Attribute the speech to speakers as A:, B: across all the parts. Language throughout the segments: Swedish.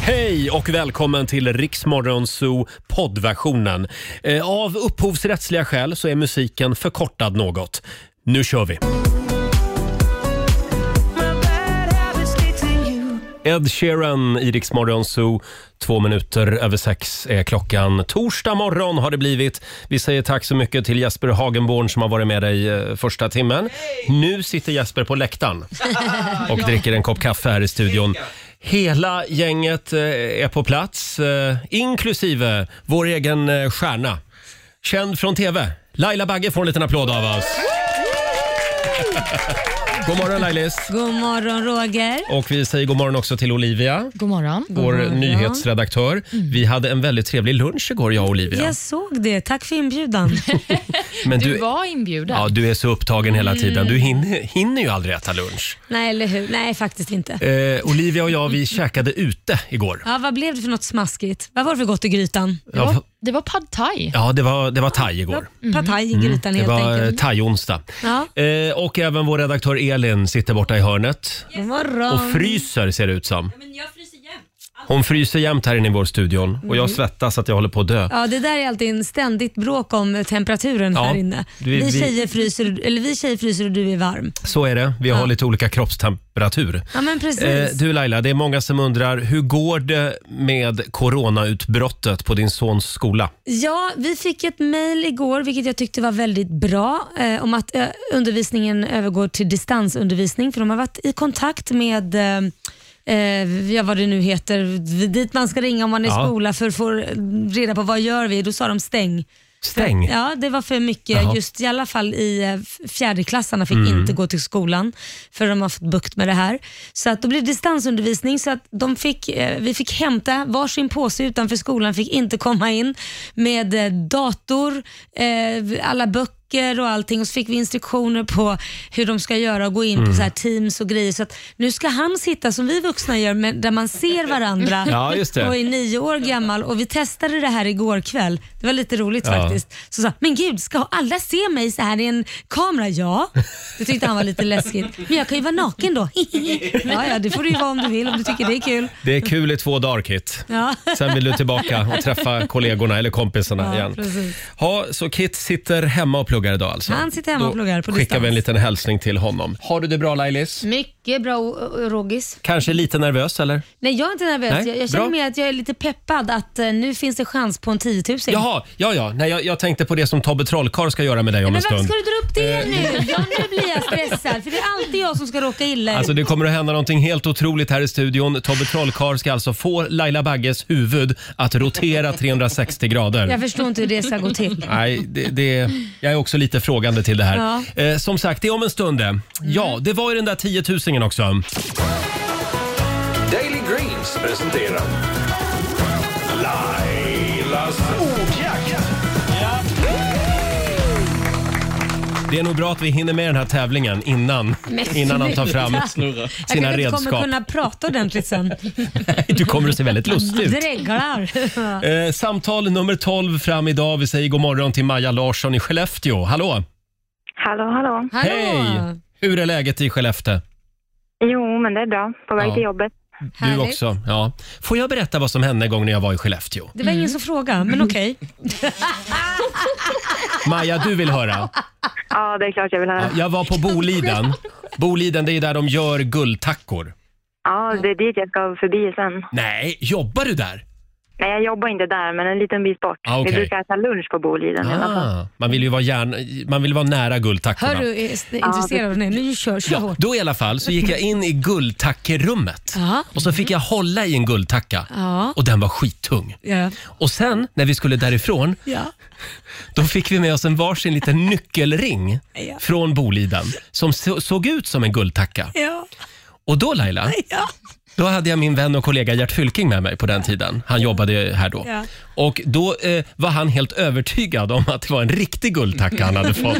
A: Hej och välkommen till Riksmorgon Zoo poddversionen. Eh, Av upphovsrättsliga skäl så är musiken förkortad något. Nu kör vi! Ed Sheeran i Rix Morgon Zoo. Två minuter över sex är klockan. Torsdag morgon har det blivit. Vi säger tack så mycket till Jesper Hagenborn som har varit med dig eh, första timmen. Nu sitter Jesper på läktaren och dricker en kopp kaffe här i studion. Hela gänget eh, är på plats, eh, inklusive vår egen eh, stjärna. Känd från TV. Laila Bagge får en liten applåd av oss. God morgon Lailis!
B: God morgon Roger.
A: Och vi säger god morgon också till Olivia.
C: God morgon. Mm.
A: vår nyhetsredaktör. Vi hade en väldigt trevlig lunch igår, jag och Olivia.
B: Jag såg det. Tack för inbjudan.
A: Men
C: Du var Mm. inbjuden.
A: ja, du är så upptagen hela tiden. Du hinner, hinner ju aldrig äta lunch.
B: Nej, eller hur? Nej, faktiskt inte.
C: Mm.
A: Eh, Olivia och jag, vi käkade ute igår.
B: Ja, vad blev det för något smaskigt? Vad var det för gott i grytan?
C: Det, var,
A: Ja,
C: det var pad thai.
A: ja det var, det var thai igår.
B: Pad thai i grytan
A: Mm. Det
B: helt
A: var eh,
B: enkelt.
A: thai-onsdag.
B: Ja.
A: Eh, och även vår redaktör Elin sitter borta i hörnet
B: God morgon.
A: och fryser ser det ut som.
D: Men jag fryser jämt.
A: Hon fryser jämt här inne i vår studion och jag svettas att jag håller på att dö.
B: Mm. Ja, det där är alltid en ständigt bråk om temperaturen
A: Ja.
B: här inne.
A: Vi-
B: Vi,
A: vi-
B: tjejer fryser, eller vi tjejer fryser och du är varm.
A: Så är det. Vi har lite olika kroppstemperatur.
B: Ja, men precis.
A: Eh, du Laila, det är många som undrar hur går det med coronautbrottet på din sons skola?
B: Ja, vi fick ett mejl igår, vilket jag tyckte var väldigt bra, eh, om att eh, undervisningen övergår till distansundervisning, för de har varit i kontakt med eh, Eh, ja, vad det nu heter, dit man ska ringa om man är i
A: Ja.
B: skola för att få reda på vad gör vi. Då sa de stäng.
A: Stäng!
B: Ja, det var för mycket.
A: Jaha. Mm.
B: Just i alla fall i eh, f- fjärdeklassarna fick inte gå till skolan för de har fått bukt med det här. Så att då blev det distansundervisning så att de fick, eh, vi fick hämta varsin påse utanför skolan, fick inte komma in med eh, dator, eh, alla böcker och allting och så fick vi instruktioner på hur de ska göra och gå in
A: Mm.
B: på så här teams och grejer. Så att nu ska han sitta som vi vuxna gör, men där man ser varandra
A: Ja, just det.
B: och är nio år gammal och vi testade det här igår kväll. Det var lite roligt
A: Ja.
B: faktiskt. Så sa men gud ska alla se mig så här i en kamera? Ja. Det tyckte han var lite läskigt. Men jag kan ju vara naken då. ja, ja, det får du ju vara om du vill om du tycker det är kul.
A: Det är kul i två dagar Kit.
B: Ja.
A: Sen vill du tillbaka och träffa kollegorna eller kompisarna
B: Ja,
A: igen.
B: precis.
A: Ha, så Kit sitter hemma och pluggar idag alltså?
B: Han sitter hemma och pluggar på
A: Då skickar
B: distans.
A: vi en liten hälsning till honom. Har du det bra Lailis?
B: Mycket bra Rogis.
A: Kanske lite nervös eller?
B: Nej, jag är inte nervös.
A: Nej,
B: jag jag känner
A: bra.
B: mer att jag är lite peppad att eh, nu finns det chans på en 10 000.
A: Jaha, ja ja. Nej, jag, jag tänkte på det som Tobbe Trollkarl ska göra med dig om
B: Men
A: en
B: varför
A: stund. Eh.
B: ska du dra upp det nu? Ja, nu blir jag stressad för det är alltid jag som ska råka illa ut.
A: Alltså det kommer att hända någonting helt otroligt här i studion. Tobbe Trollkarl ska alltså få Laila Bagges huvud att rotera 360 grader.
B: Jag förstår inte hur det ska gå till.
A: Nej, det, det, jag är också lite frågande till det här.
B: Ja. Mm.
A: Eh, som sagt, det är om en stund det. Ja, det var ju den där 10 000 också.
E: Daily Greens presenterar Lailas ordjakt.
A: Det är nog bra att vi hinner med den här tävlingen innan, innan han tar fram
B: Jag
A: sina
B: kanske inte kommer
A: redskap.
B: kunna prata ordentligt sen.
A: Du kommer att se väldigt lustig ut.
B: Dreglar.
A: Eh, samtal nummer 12 fram idag. Vi säger god morgon till Maja Larsson i Skellefteå. Hallå!
F: Hallå, hallå.
B: Hallå.
A: Hej! Hur är läget i Skellefteå?
F: Jo, men det är bra. På väg
A: Ja.
F: till jobbet.
A: Du
B: Härligt.
A: också. Ja. Får jag berätta vad som hände en gång när jag var i Skellefteå?
B: Det var ingen som frågade, men okej.
A: Mm. Maja, du vill höra?
F: Ja, det är klart jag vill höra.
A: Jag var på Boliden. Boliden, det är där de gör guldtackor.
F: Ja, det är dit jag ska förbi sen.
A: Nej, jobbar du där?
F: Nej, jag jobbar inte där, men en liten bit bort.
A: Ah, okej.
F: Vi brukar äta lunch på Boliden i alla fall.
A: Ah, man vill ju vara, järn, man vill vara nära guldtackorna.
B: Hör du, är s- intresserad av det? Nu kör, kör
A: Ja,
B: hårt.
A: då i alla fall så gick jag in i guldtackerummet
B: Ja.
A: och så fick jag hålla i en guldtacka
B: Ja.
A: och den var skittung.
B: Ja.
A: Och sen när vi skulle därifrån,
B: Ja.
A: då fick vi med oss en varsin liten nyckelring
B: Ja.
A: från Boliden som så, såg ut som en guldtacka.
B: Ja.
A: Och då Laila,
B: Ja.
A: Då hade jag min vän och kollega Gert Fylking med mig på den tiden. Han jobbade här då.
B: Ja.
A: Och då eh, var han helt övertygad om att det var en riktig guldtacka han hade fått.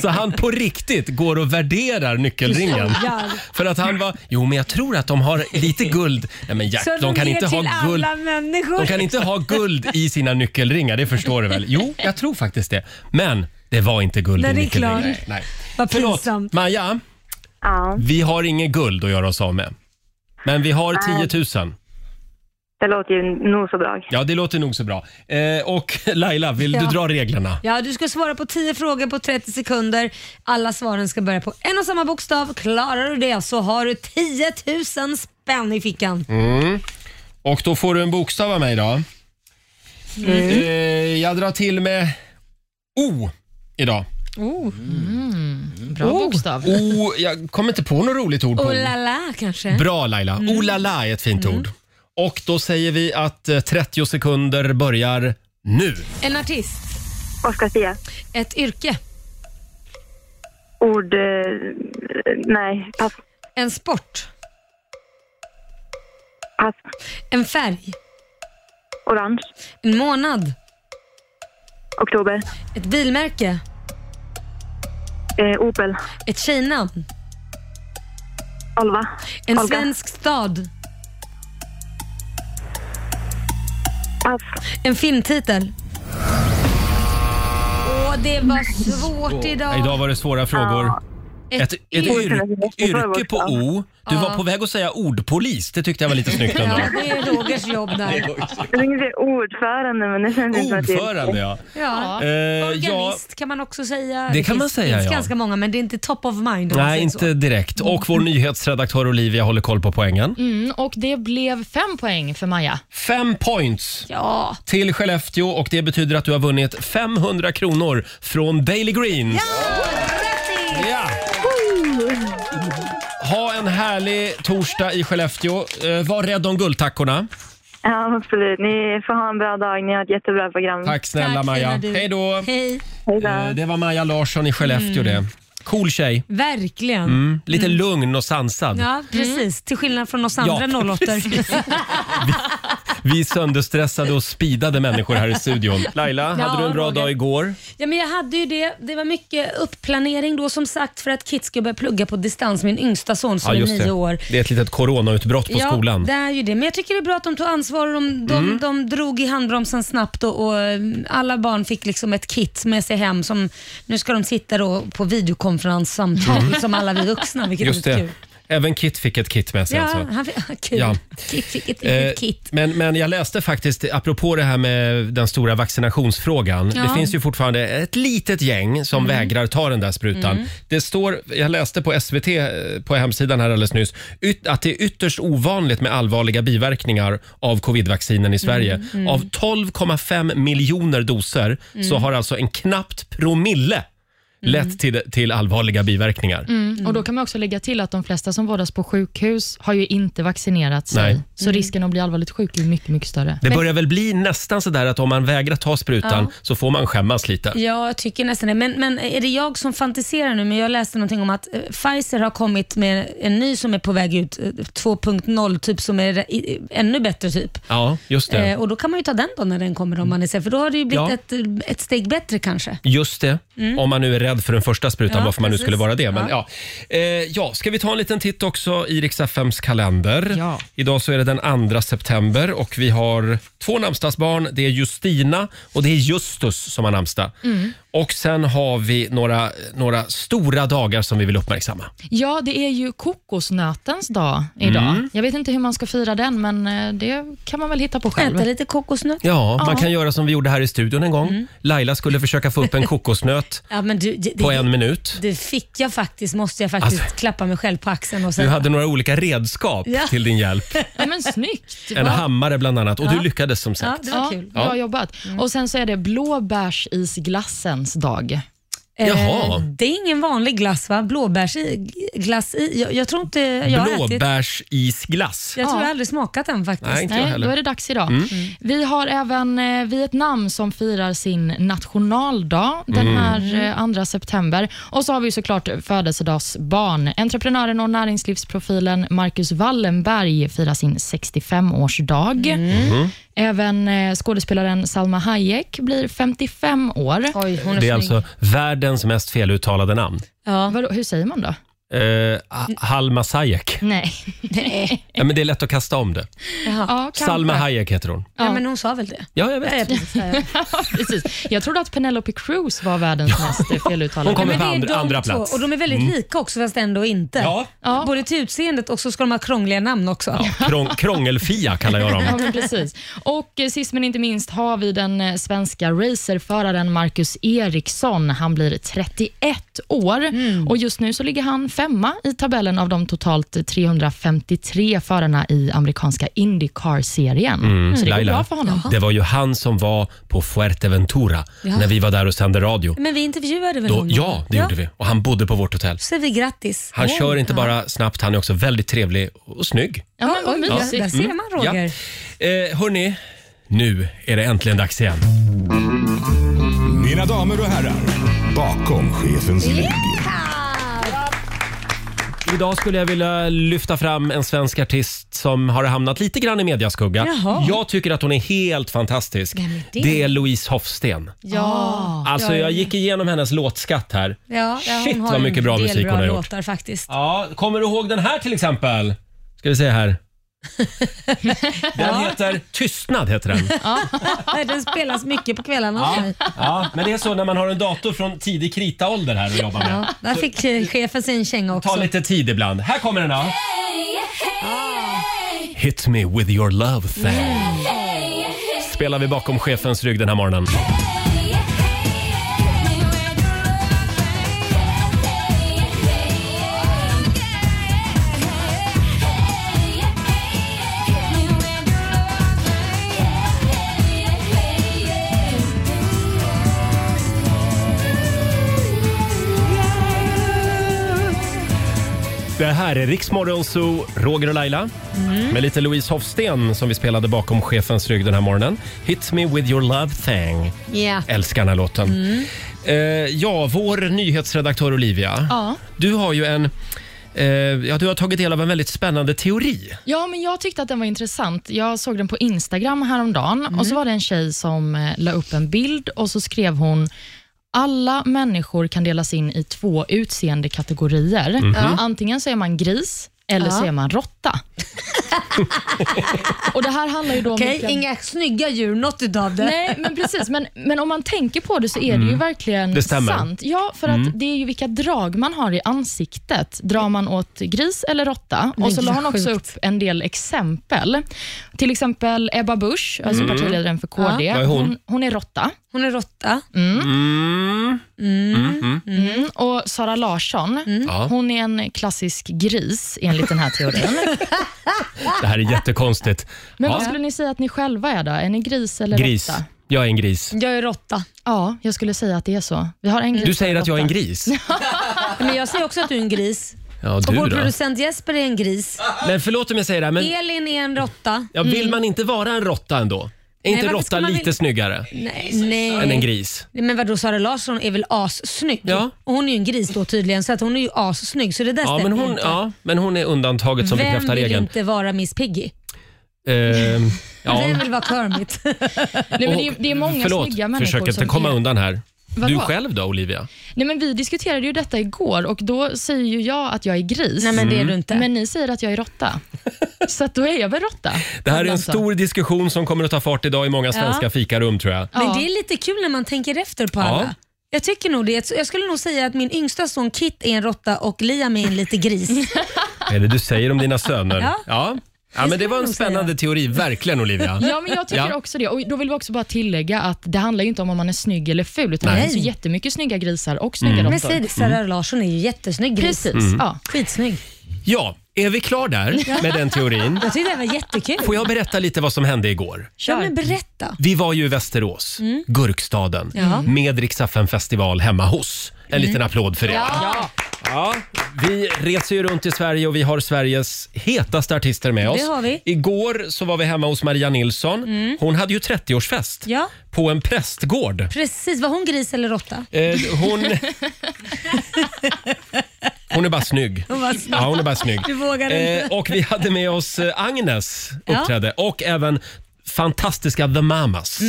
A: Så han på riktigt går och värderar nyckelringen.
B: Skojar.
A: För att han var, jo men jag tror att de har lite guld. Nej men Gert,
B: Så
A: de kan
B: ner
A: inte
B: till
A: ha guld.
B: alla människor.
A: De kan inte ha guld i sina nyckelringar, det förstår du väl? Jo, jag tror faktiskt det. Men det var inte guld
B: Nej,
A: i
B: det är
A: nyckelringar.
B: klart.
A: Nej, nej.
B: Vad
A: Förlåt,
B: pinsamt.
A: Maja.
F: Ja,
A: Vi har inget guld att göra oss av med. Men vi har 10 000.
F: Det låter ju nog så bra.
A: Ja, det låter nog så bra. Eh, och Laila, vill du
B: Ja.
A: dra reglerna?
B: Ja, du ska svara på 10 frågor på 30 sekunder. Alla svaren ska börja på en och samma bokstav. Klarar du det så har du 10 000 spänn i fickan.
A: Mm. Och då får du en bokstav av mig då. Eh, jag drar till med O idag.
B: Oh.
C: Bra
A: Oh.
C: bokstav.
A: O, jag kommer inte på något roligt ord på
B: Oh
A: O.
B: la la kanske.
A: Bra Laila. Mm. Olala är ett fint ord. Och då säger vi att eh, 30 sekunder börjar nu.
B: En artist.
F: Oskar Sia.
B: Ett yrke.
F: Ord... Eh, nej, pass.
B: En sport.
F: Pass.
B: En färg.
F: Orange.
B: En månad.
F: Oktober.
B: Ett bilmärke.
F: Eh, Opel.
B: Ett tjejnamn.
F: Olva.
B: En
F: Olga.
B: svensk stad.
F: Pass.
B: En filmtitel. Åh, det var svårt idag.
A: Idag var det svåra frågor. Ett, ett
B: yrke.
A: yr, yrke på O. Du var på väg att säga ordpolis. Det tyckte jag var lite snyggt ändå.
B: Ja, det är Rogers jobb där.
F: Jag tänkte säga ordförande, men det känns inte som att det
A: Ordförande ja.
B: Ja.
A: Eh, ja.
B: Organist kan man också säga.
A: Det kan man
B: finns,
A: säga,
B: finns
A: ja.
B: ganska många, men det är inte top of mind. om man
A: Nej,
B: säger så.
A: inte direkt. Och vår nyhetsredaktör Olivia håller koll på poängen.
C: Mm, och det blev fem poäng för Maja.
A: Fem points
B: Ja,
A: till Skellefteå och det betyder att du har vunnit 500 kronor från Daily Green. Ja! Ha en härlig torsdag i Skellefteå. Eh, Var rädd om
B: Oh,
A: guldtackorna.
F: Ja, absolut. Ni får ha en bra dag. Ni har ett jättebra program.
A: Tack snälla
B: Tack,
A: Maja.
B: fina du.
A: Hej då!
B: hej. Mm.
F: Hej då.
A: Eh, Det var Maja Larsson i Skellefteå det. Cool tjej.
B: Verkligen.
A: Mm. Lite lugn och sansad.
B: Ja, precis. Till skillnad från oss andra
A: Ja,
B: 08
A: Vi sönderstressade och speedade människor här i studion. Laila,
B: Ja,
A: hade du en bra
B: Roger.
A: dag igår?
B: Ja, men jag hade ju det. Det var mycket uppplanering då som sagt för att Kit ska börja plugga på distans. Min yngsta son som är nio
A: det.
B: år.
A: Det är ett litet coronautbrott på
B: ja,
A: skolan. Mm.
B: det är ju det. Men jag tycker det är bra att de tog ansvar och de, de, de drog i handbromsen snabbt och, och mm, alla barn fick liksom ett kit med sig hem som nu ska de sitta då på videokonferenssamtal som alla vi vuxna, vilket
A: Mm. Just
B: är lite
A: det.
B: kul.
A: Även Kit fick ett kit med sig.
B: Ja,
A: alltså.
B: han fick, ah, kul.
A: Ja.
B: Kit fick ett
A: Eh,
B: litet kit.
A: Men, men jag läste faktiskt, apropå det här med den stora vaccinationsfrågan.
B: Ja. Mm.
A: Det finns ju fortfarande ett litet gäng som vägrar ta den där sprutan. Det står, jag läste på SVT eh, på hemsidan här alldeles nyss, yt, att det är ytterst ovanligt med allvarliga biverkningar av covidvaccinen i Sverige.
B: Mm,
A: Av 12,5 miljoner doser
B: Mm.
A: så har alltså en knappt promille lett till, till allvarliga biverkningar.
B: Mm.
C: Mm. Och Då kan man också lägga till att de flesta som vårdas på sjukhus har ju inte vaccinerat sig.
A: Nej.
C: Så risken att bli allvarligt sjuk är ju mycket, mycket större.
A: Det börjar väl bli nästan sådär att om man vägrar ta sprutan så får man skämmas lite.
B: Ja, jag tycker nästan det. Men, men är det jag som fantiserar nu? Men jag läste någonting om att eh, Pfizer har kommit med en ny som är på väg ut, eh, 2.0 typ som är eh, i- ännu bättre typ.
A: Ja, just det.
B: Eh, och då kan man ju ta den då när den kommer om man är sen, för då har det ju blivit
A: Ja.
B: ett, eh, ett steg bättre kanske.
A: Just det, om man nu är rädd för den första sprutan,
B: Mm. Ja,
A: varför man nu
B: precis.
A: skulle vara det. Men, ja. Eh, ja, ska vi ta en liten titt också i Rix FMs kalender?
C: Ja.
A: Idag så är det den 2 september och vi har två namnsdagsbarn. Det är Justina och det är Justus som har namnsdag.
B: Mm.
A: Och sen har vi några, några stora dagar som vi vill uppmärksamma.
C: Ja, det är ju kokosnötens dag idag.
A: Mm.
C: Jag vet inte hur man ska fira den, men eh, det kan man väl hitta på själv.
B: Äta lite kokosnöt.
A: Ja, man
C: Ja.
A: kan göra som vi gjorde här i studion en gång.
B: Mm.
A: Laila skulle försöka få upp en kokosnöt
B: Ja, men du, det,
A: på en minut.
B: det fick jag faktiskt, måste jag faktiskt
A: Alltså.
B: klappa mig själv på axeln och
A: Du
B: säga.
A: hade några olika redskap
B: Ja.
A: till din hjälp.
C: Ja, men snyggt!
A: En
C: Ja.
A: hammare bland annat och
B: Ja.
A: du lyckades som
B: Ja,
A: sagt.
B: det var
C: Ja, Mm.
B: kul.
C: bra jobbat. Och Sen så är det blåbärsisglassens dag.
A: Jaha.
B: Eh, det är ingen vanlig glass va? Blåbärsglass i? Jag, jag tror inte jag har ätit.
A: Blåbärsisglass.
B: Jag tror
C: Ja.
B: jag aldrig smakat den faktiskt.
A: Nej, inte jag
C: Nej, då är
A: heller. Mm.
C: det dags idag. Mm. Vi har även eh, Vietnam som firar sin nationaldag den
A: Mm.
C: här eh, 2 september. Och så har vi såklart födelsedagsbarn. Entreprenören och näringslivsprofilen Marcus Wallenberg firar sin 65-årsdag.
A: Mm.
C: Även eh, skådespelaren Salma Hayek blir 55 år.
B: Oj, hon är,
A: Det är
B: snygg.
A: alltså världens mest feluttalade namn.
B: Ja.
C: Vadå, hur säger man då?
A: eh, Ha- Halma Sayek.
C: Nej.
A: Ja, men det är lätt att kasta om det.
B: Jaha.
C: Ja, kanske.
A: Salma Hayek heter hon.
B: Ja. men hon sa väl det?
A: Ja, jag
B: Ja,
A: vet.
B: precis. Ja, ja.
C: Ja, precis. Jag trodde att Penelope Cruz var världens mest
A: Hon
C: feluttalade.
A: kommer
B: Men
A: på
B: det är
A: andra,
B: de
A: andra
B: två,
A: plats. Mm.
B: Och de är väldigt lika också fast ändå inte.
A: Ja.
C: Ja.
B: Både till utseendet och så ska de ha krångliga namn också.
A: Krång, krångelfia kallar jag dem.
C: Ja, men precis. Och eh, sist men inte minst har vi den eh, svenska racerföraren Marcus Eriksson. Han blir 31 år och just nu så ligger han femma i tabellen av de totalt 353 förarna i amerikanska Indycar-serien. Så det går
A: Laila.
C: bra för honom.
A: Det var ju han som var på Fuerteventura när vi var där och sände radio.
B: Men vi intervjuade väl
A: Då,
B: honom?
A: ja, det gjorde vi. Och han bodde på vårt hotell.
B: Så säger vi grattis.
A: Han kör inte bara snabbt, han är också väldigt trevlig och snygg.
C: Ja, men vad
B: Oj, där, där
C: mysigt.
A: mm.
B: ser man Roger.
A: Eh, hörni, nu är det äntligen dags igen.
E: Mina damer och herrar, bakom chefens rygg.
A: Idag skulle jag vilja lyfta fram en svensk artist som har hamnat lite grann i mediaskugga.
B: Jaha.
A: Jag tycker att hon är helt fantastisk.
B: Vem är det?
A: Det är Louise Hofsten.
B: Ja.
A: Alltså
B: Ja,
A: jag gick igenom hennes låtskatt här.
B: Ja, ja, hon
A: Shit,
B: har
A: vad mycket
B: en
A: bra
B: del
A: musik
B: bra
A: hon har gjort.
B: låtar faktiskt.
A: Ja, kommer du ihåg den här till exempel? Ska vi se här. Den heter Tystnad. heter den.
B: Den spelas mycket på kvällarna. Ja.
A: Ja, men det är så när man har en dator från tidig kritaålder här att jobba med.
B: Där fick eh, chefen sig en känga också.
A: Ta lite tid ibland. Här kommer den då. Hit me with your love thing. Spelar vi bakom chefens rygg den här morgonen. Det här är Riksmorgon Zoo, Roger och Laila. Med lite Louise Hofsten som vi spelade bakom chefens rygg den här morgonen. Hit me with your love thing.
B: Ja.
A: Älskar den här låten. Eh, ja, vår nyhetsredaktör Olivia.
C: Ja.
A: Du har ju en... Eh, ja, du har tagit del av en väldigt spännande teori.
C: Ja, men jag tyckte att den var intressant. Jag såg den på Instagram häromdagen och så var det en tjej som eh, la upp en bild och så skrev hon alla människor kan delas in i två utseendekategorier. Antingen så är man gris eller så är man råtta. och det här handlar ju då om
B: Okej,
C: vilka-
B: inga snygga djur, något utav det.
C: Nej, men precis. Men, men om man tänker på det så är det ju verkligen
A: Mm. Det stämmer. Mm.
C: sant. Ja, för att det är ju vilka drag man har i ansiktet. Drar man åt gris eller råtta? Och så
B: gud,
C: la
B: vad
C: hon också upp
B: sjukt.
C: en del exempel. Till exempel Ebba Busch, alltså partiledaren för KD.
A: Mm. Vad är hon?
C: Hon, är råtta.
B: Hon är råtta.
C: Mm. Och Sara Larsson,
A: Mm. Ja.
C: hon är en klassisk gris enligt den här teorin.
A: Det här är jättekonstigt.
C: Men
A: Ja.
C: vad skulle ni säga att ni själva är då? Är ni gris eller
A: Gris.
C: råtta?
A: Jag är en gris.
B: Jag är råtta.
C: Ja, jag skulle säga att det är så. Vi har en gris
A: Du
C: och
A: säger att jag är en
C: råtta.
A: gris.
B: Men jag säger också att du är en gris.
A: Ja,
B: Och
A: du
B: vår
A: då?
B: producent Jesper är en gris.
A: Men förlåt om jag säger det här, men
B: Elin är en råtta.
A: ja, vill man inte vara en råtta ändå? Är inte
B: varför
A: råtta
B: ska man
A: lite
B: väl-
A: snyggare
B: Nej,
A: än en
B: nej.
A: gris?
B: Men vadå, Sara Larsson är väl assnygg?
A: Ja.
B: Och hon är ju en gris då tydligen, så att hon är ju assnygg. Så det där
A: Ja men,
B: stämmer
A: hon,
B: inte.
A: ja, men hon är undantaget som
B: Vem
A: bekräftar
B: vill
A: regeln.
B: inte vara Miss Piggy?
A: Ehm,
B: Vem
A: ja.
B: vill vara Kermit?
C: Nej, men det, är, det är många snygga
A: Förlåt,
C: människor
A: försök inte
C: som
A: komma
C: är...
A: undan här. Du
C: Vadå?
A: själv då Olivia?
C: Nej, men vi diskuterade ju detta igår och då säger ju jag att jag är gris.
B: nej men det
A: Mm.
B: är du inte.
C: Men ni säger att jag är råtta. Så att då är jag väl råtta?
A: Det här är en
C: Alltså.
A: stor diskussion som kommer att ta fart idag i många svenska fikarum tror jag.
B: Men
C: Ja.
B: det är lite kul när man tänker efter på
A: Ja.
B: alla. Jag tycker nog det. Jag skulle nog säga att min yngsta son Kit är en råtta och Liam är en lite gris.
A: Är det du säger om dina söner?
B: Ja.
A: ja. Ja, men det var en
B: nog säga.
A: spännande teori, verkligen Olivia.
C: Ja, men jag tycker
A: Ja.
C: också det. Och då vill vi också bara tillägga att det handlar ju inte om om man är snygg eller ful, utan
B: Nej.
C: det finns ju jättemycket snygga grisar och snygga
A: Mm.
B: Men
C: råttor.
B: säg det, Sara Larsson är ju jättesnygg gris.
C: Precis. Ja.
B: Skitsnygg.
A: Ja, är vi klar där med den teorin?
B: Jag tyckte det var jättekul.
A: Får jag berätta lite vad som hände igår?
B: Ja, men berätta.
A: Vi var ju i Västerås, Gurkstaden,
B: Mm. Ja. Mm.
A: med Rix festival hemma hos. En liten applåd för det.
C: Ja.
A: Ja, vi reser ju runt i Sverige och vi har Sveriges hetaste artister med oss.
B: Det har vi. Mm.
A: Igår så var vi hemma hos Maria Nilsson. Hon hade ju 30-årsfest
B: Ja.
A: på en prästgård.
B: Precis, var hon gris eller råtta?
A: Eh, hon... hon är bara snygg.
B: Hon var snygg.
A: Ja, hon är bara snygg.
B: Du vågar inte.
A: Eh, och vi hade med oss eh, Agnes
B: Ja.
A: uppträdde och även fantastiska The Mamas.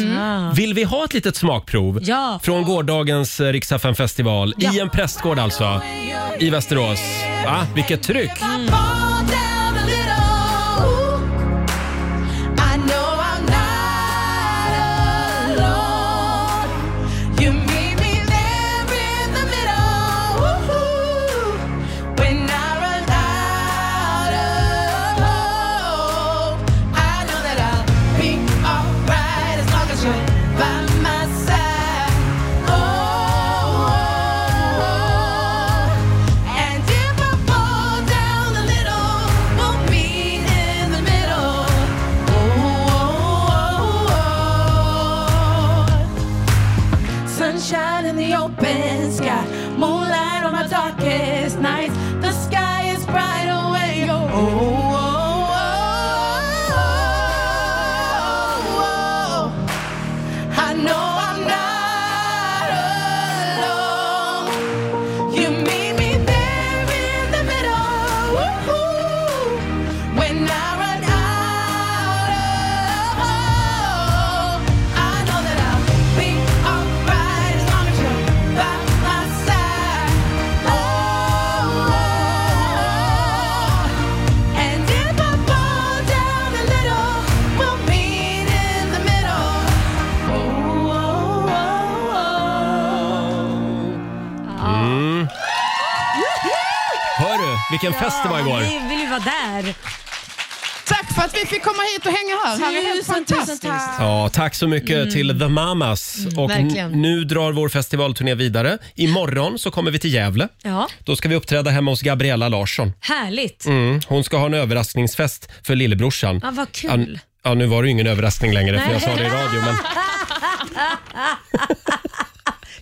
A: Vill vi ha ett litet smakprov
B: Mm. Ja.
A: från gårdagens eh, riksdagen festival i en prästgård alltså i Västerås? Va? Vilket tryck!
G: Oh, Oh,
D: Sunshine in the open sky, moonlight on my darkest nights. The sky is bright away. Oh, oh, oh, oh, oh, oh. I know I'm not alone. You meet me there in the middle. Woo-hoo. When I run out of hope, I know that I'll be alright as long as you're by my side. Oh, oh, oh. and if I fall down a little, we'll meet in the middle. Oh, oh, oh, oh.
A: Hör du, vilken fest det var igår!
B: Vi vill ju vara där.
D: Tack för att vi fick komma hit och hänga här. Det här är helt fantastiskt.
A: Ja, tack så mycket
B: Mm.
A: till The Mamas. och n-
H: verkligen.
A: nu drar vår festivalturné vidare. Imorgon så kommer vi till Gävle.
B: Ja.
A: Då ska vi uppträda hemma hos Gabriella Larsson.
B: Härligt.
A: Mm. Hon ska ha en överraskningsfest för lillebrorsan.
B: Ja, vad
A: Ja,
B: kul.
A: n- ja, nu var det ju ingen överraskning längre för
B: Nej.
A: jag sa det i radio. Men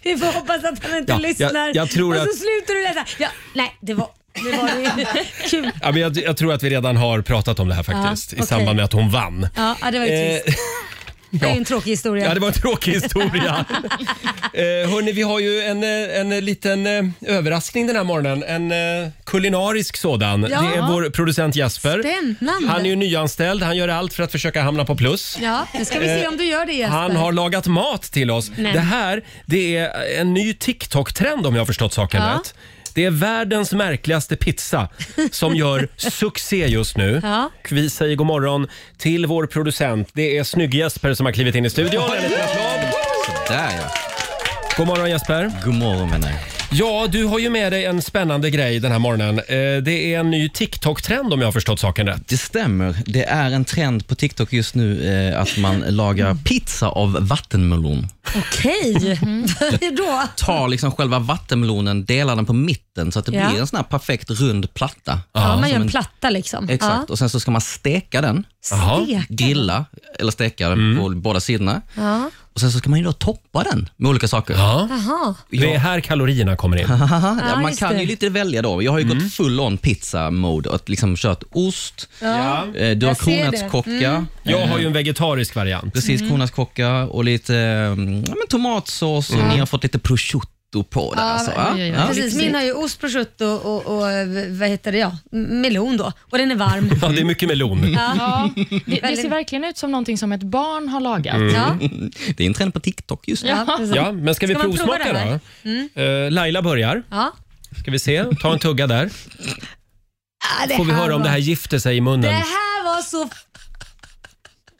B: Vi får hoppas att han inte
A: Ja, jag-
B: lyssnar.
A: jag tror
B: och så
A: att-
B: slutar du läsa. Ja, nej, det var... Det var ju kul.
A: Ja, men jag, jag tror att vi redan har pratat om det här faktiskt
B: Ja,
A: i
B: okej.
A: samband med att hon vann.
B: Ja, ja, det var ju
A: Eh,
B: trist. Det är ju en tråkig historia.
A: ja, det var en tråkig historia. eh, hörni, vi har ju en, eh, en liten eh, överraskning den här morgonen. En eh, kulinarisk sådan.
B: Ja.
A: Det är vår producent Jasper.
B: Spännande.
A: Han är ju nyanställd. Han gör allt för att försöka hamna på plus.
B: Ja, nu ska vi se om du gör det Jesper.
A: Eh, Han har lagat mat till oss.
B: Nej.
A: Det här det är en ny TikTok-trend om jag har förstått saken
B: Ja.
A: rätt. Det är världens märkligaste pizza som gör succé just nu.
B: Ja.
A: Vi säger god morgon till vår producent. Det är snygg Jesper som har klivit in i studion. En liten applåd.
I: Där ja.
A: God morgon Jesper.
I: God morgon vänner.
A: Ja, du har ju med dig en spännande grej den här morgonen. Eh, Det är en ny TikTok-trend om jag har förstått saken rätt.
I: Det stämmer. Det är en trend på TikTok just nu eh, att man lagar pizza av vattenmelon.
B: Okej, hur då?
I: Tar liksom själva vattenmelonen, delar den på mitten så att det
B: Mm. Ja.
I: blir en sån här perfekt rund platta.
B: Ja, man gör
I: Som
B: en platta liksom.
I: Exakt. Och sen så ska man steka den,
B: Ja. Stek.
I: grilla eller steka den på båda sidorna.
B: Mm. Ja.
I: Och sen så ska man ju då toppa den med olika saker.
A: Ja.
B: Jaha.
A: Det är här kalorierna kommer in.
I: Haha,
B: Ja,
I: ja, man
B: just
I: kan
B: det.
I: ju lite välja då. Jag har ju
B: Mm.
I: gått full on pizza mode och liksom kört ost, eh, du har
B: jag ser det. Mm.
I: kronärtskocka,
A: Jag har ju en vegetarisk variant.
I: Precis, kronärtskocka och lite eh, ja, men tomatsås och ni har fått lite prosciutto på där. alltså, va?
C: oj, oj, oj.
I: Ja.
B: Precis, min har ju ost, prosciutto och, och, och eh, vad heter det, ja, m- melon då. Och den är varm.
A: Ja, det är mycket melon.
C: Ja, det, det ser verkligen ut som någonting som ett barn har lagat.
A: Mm.
B: Ja,
I: Det är en trend på TikTok just nu.
B: ja, precis.
A: Ja, men ska vi
B: Ska man prova
A: provsmaka
B: det här? Mm.
A: då? Eh, Laila börjar.
B: ja.
A: Ska vi se? Ta en tugga där.
B: Ah, det
A: Får vi
B: här
A: höra om
B: var-
A: det här gifter sig i
B: Det
A: munnen.
B: här var så...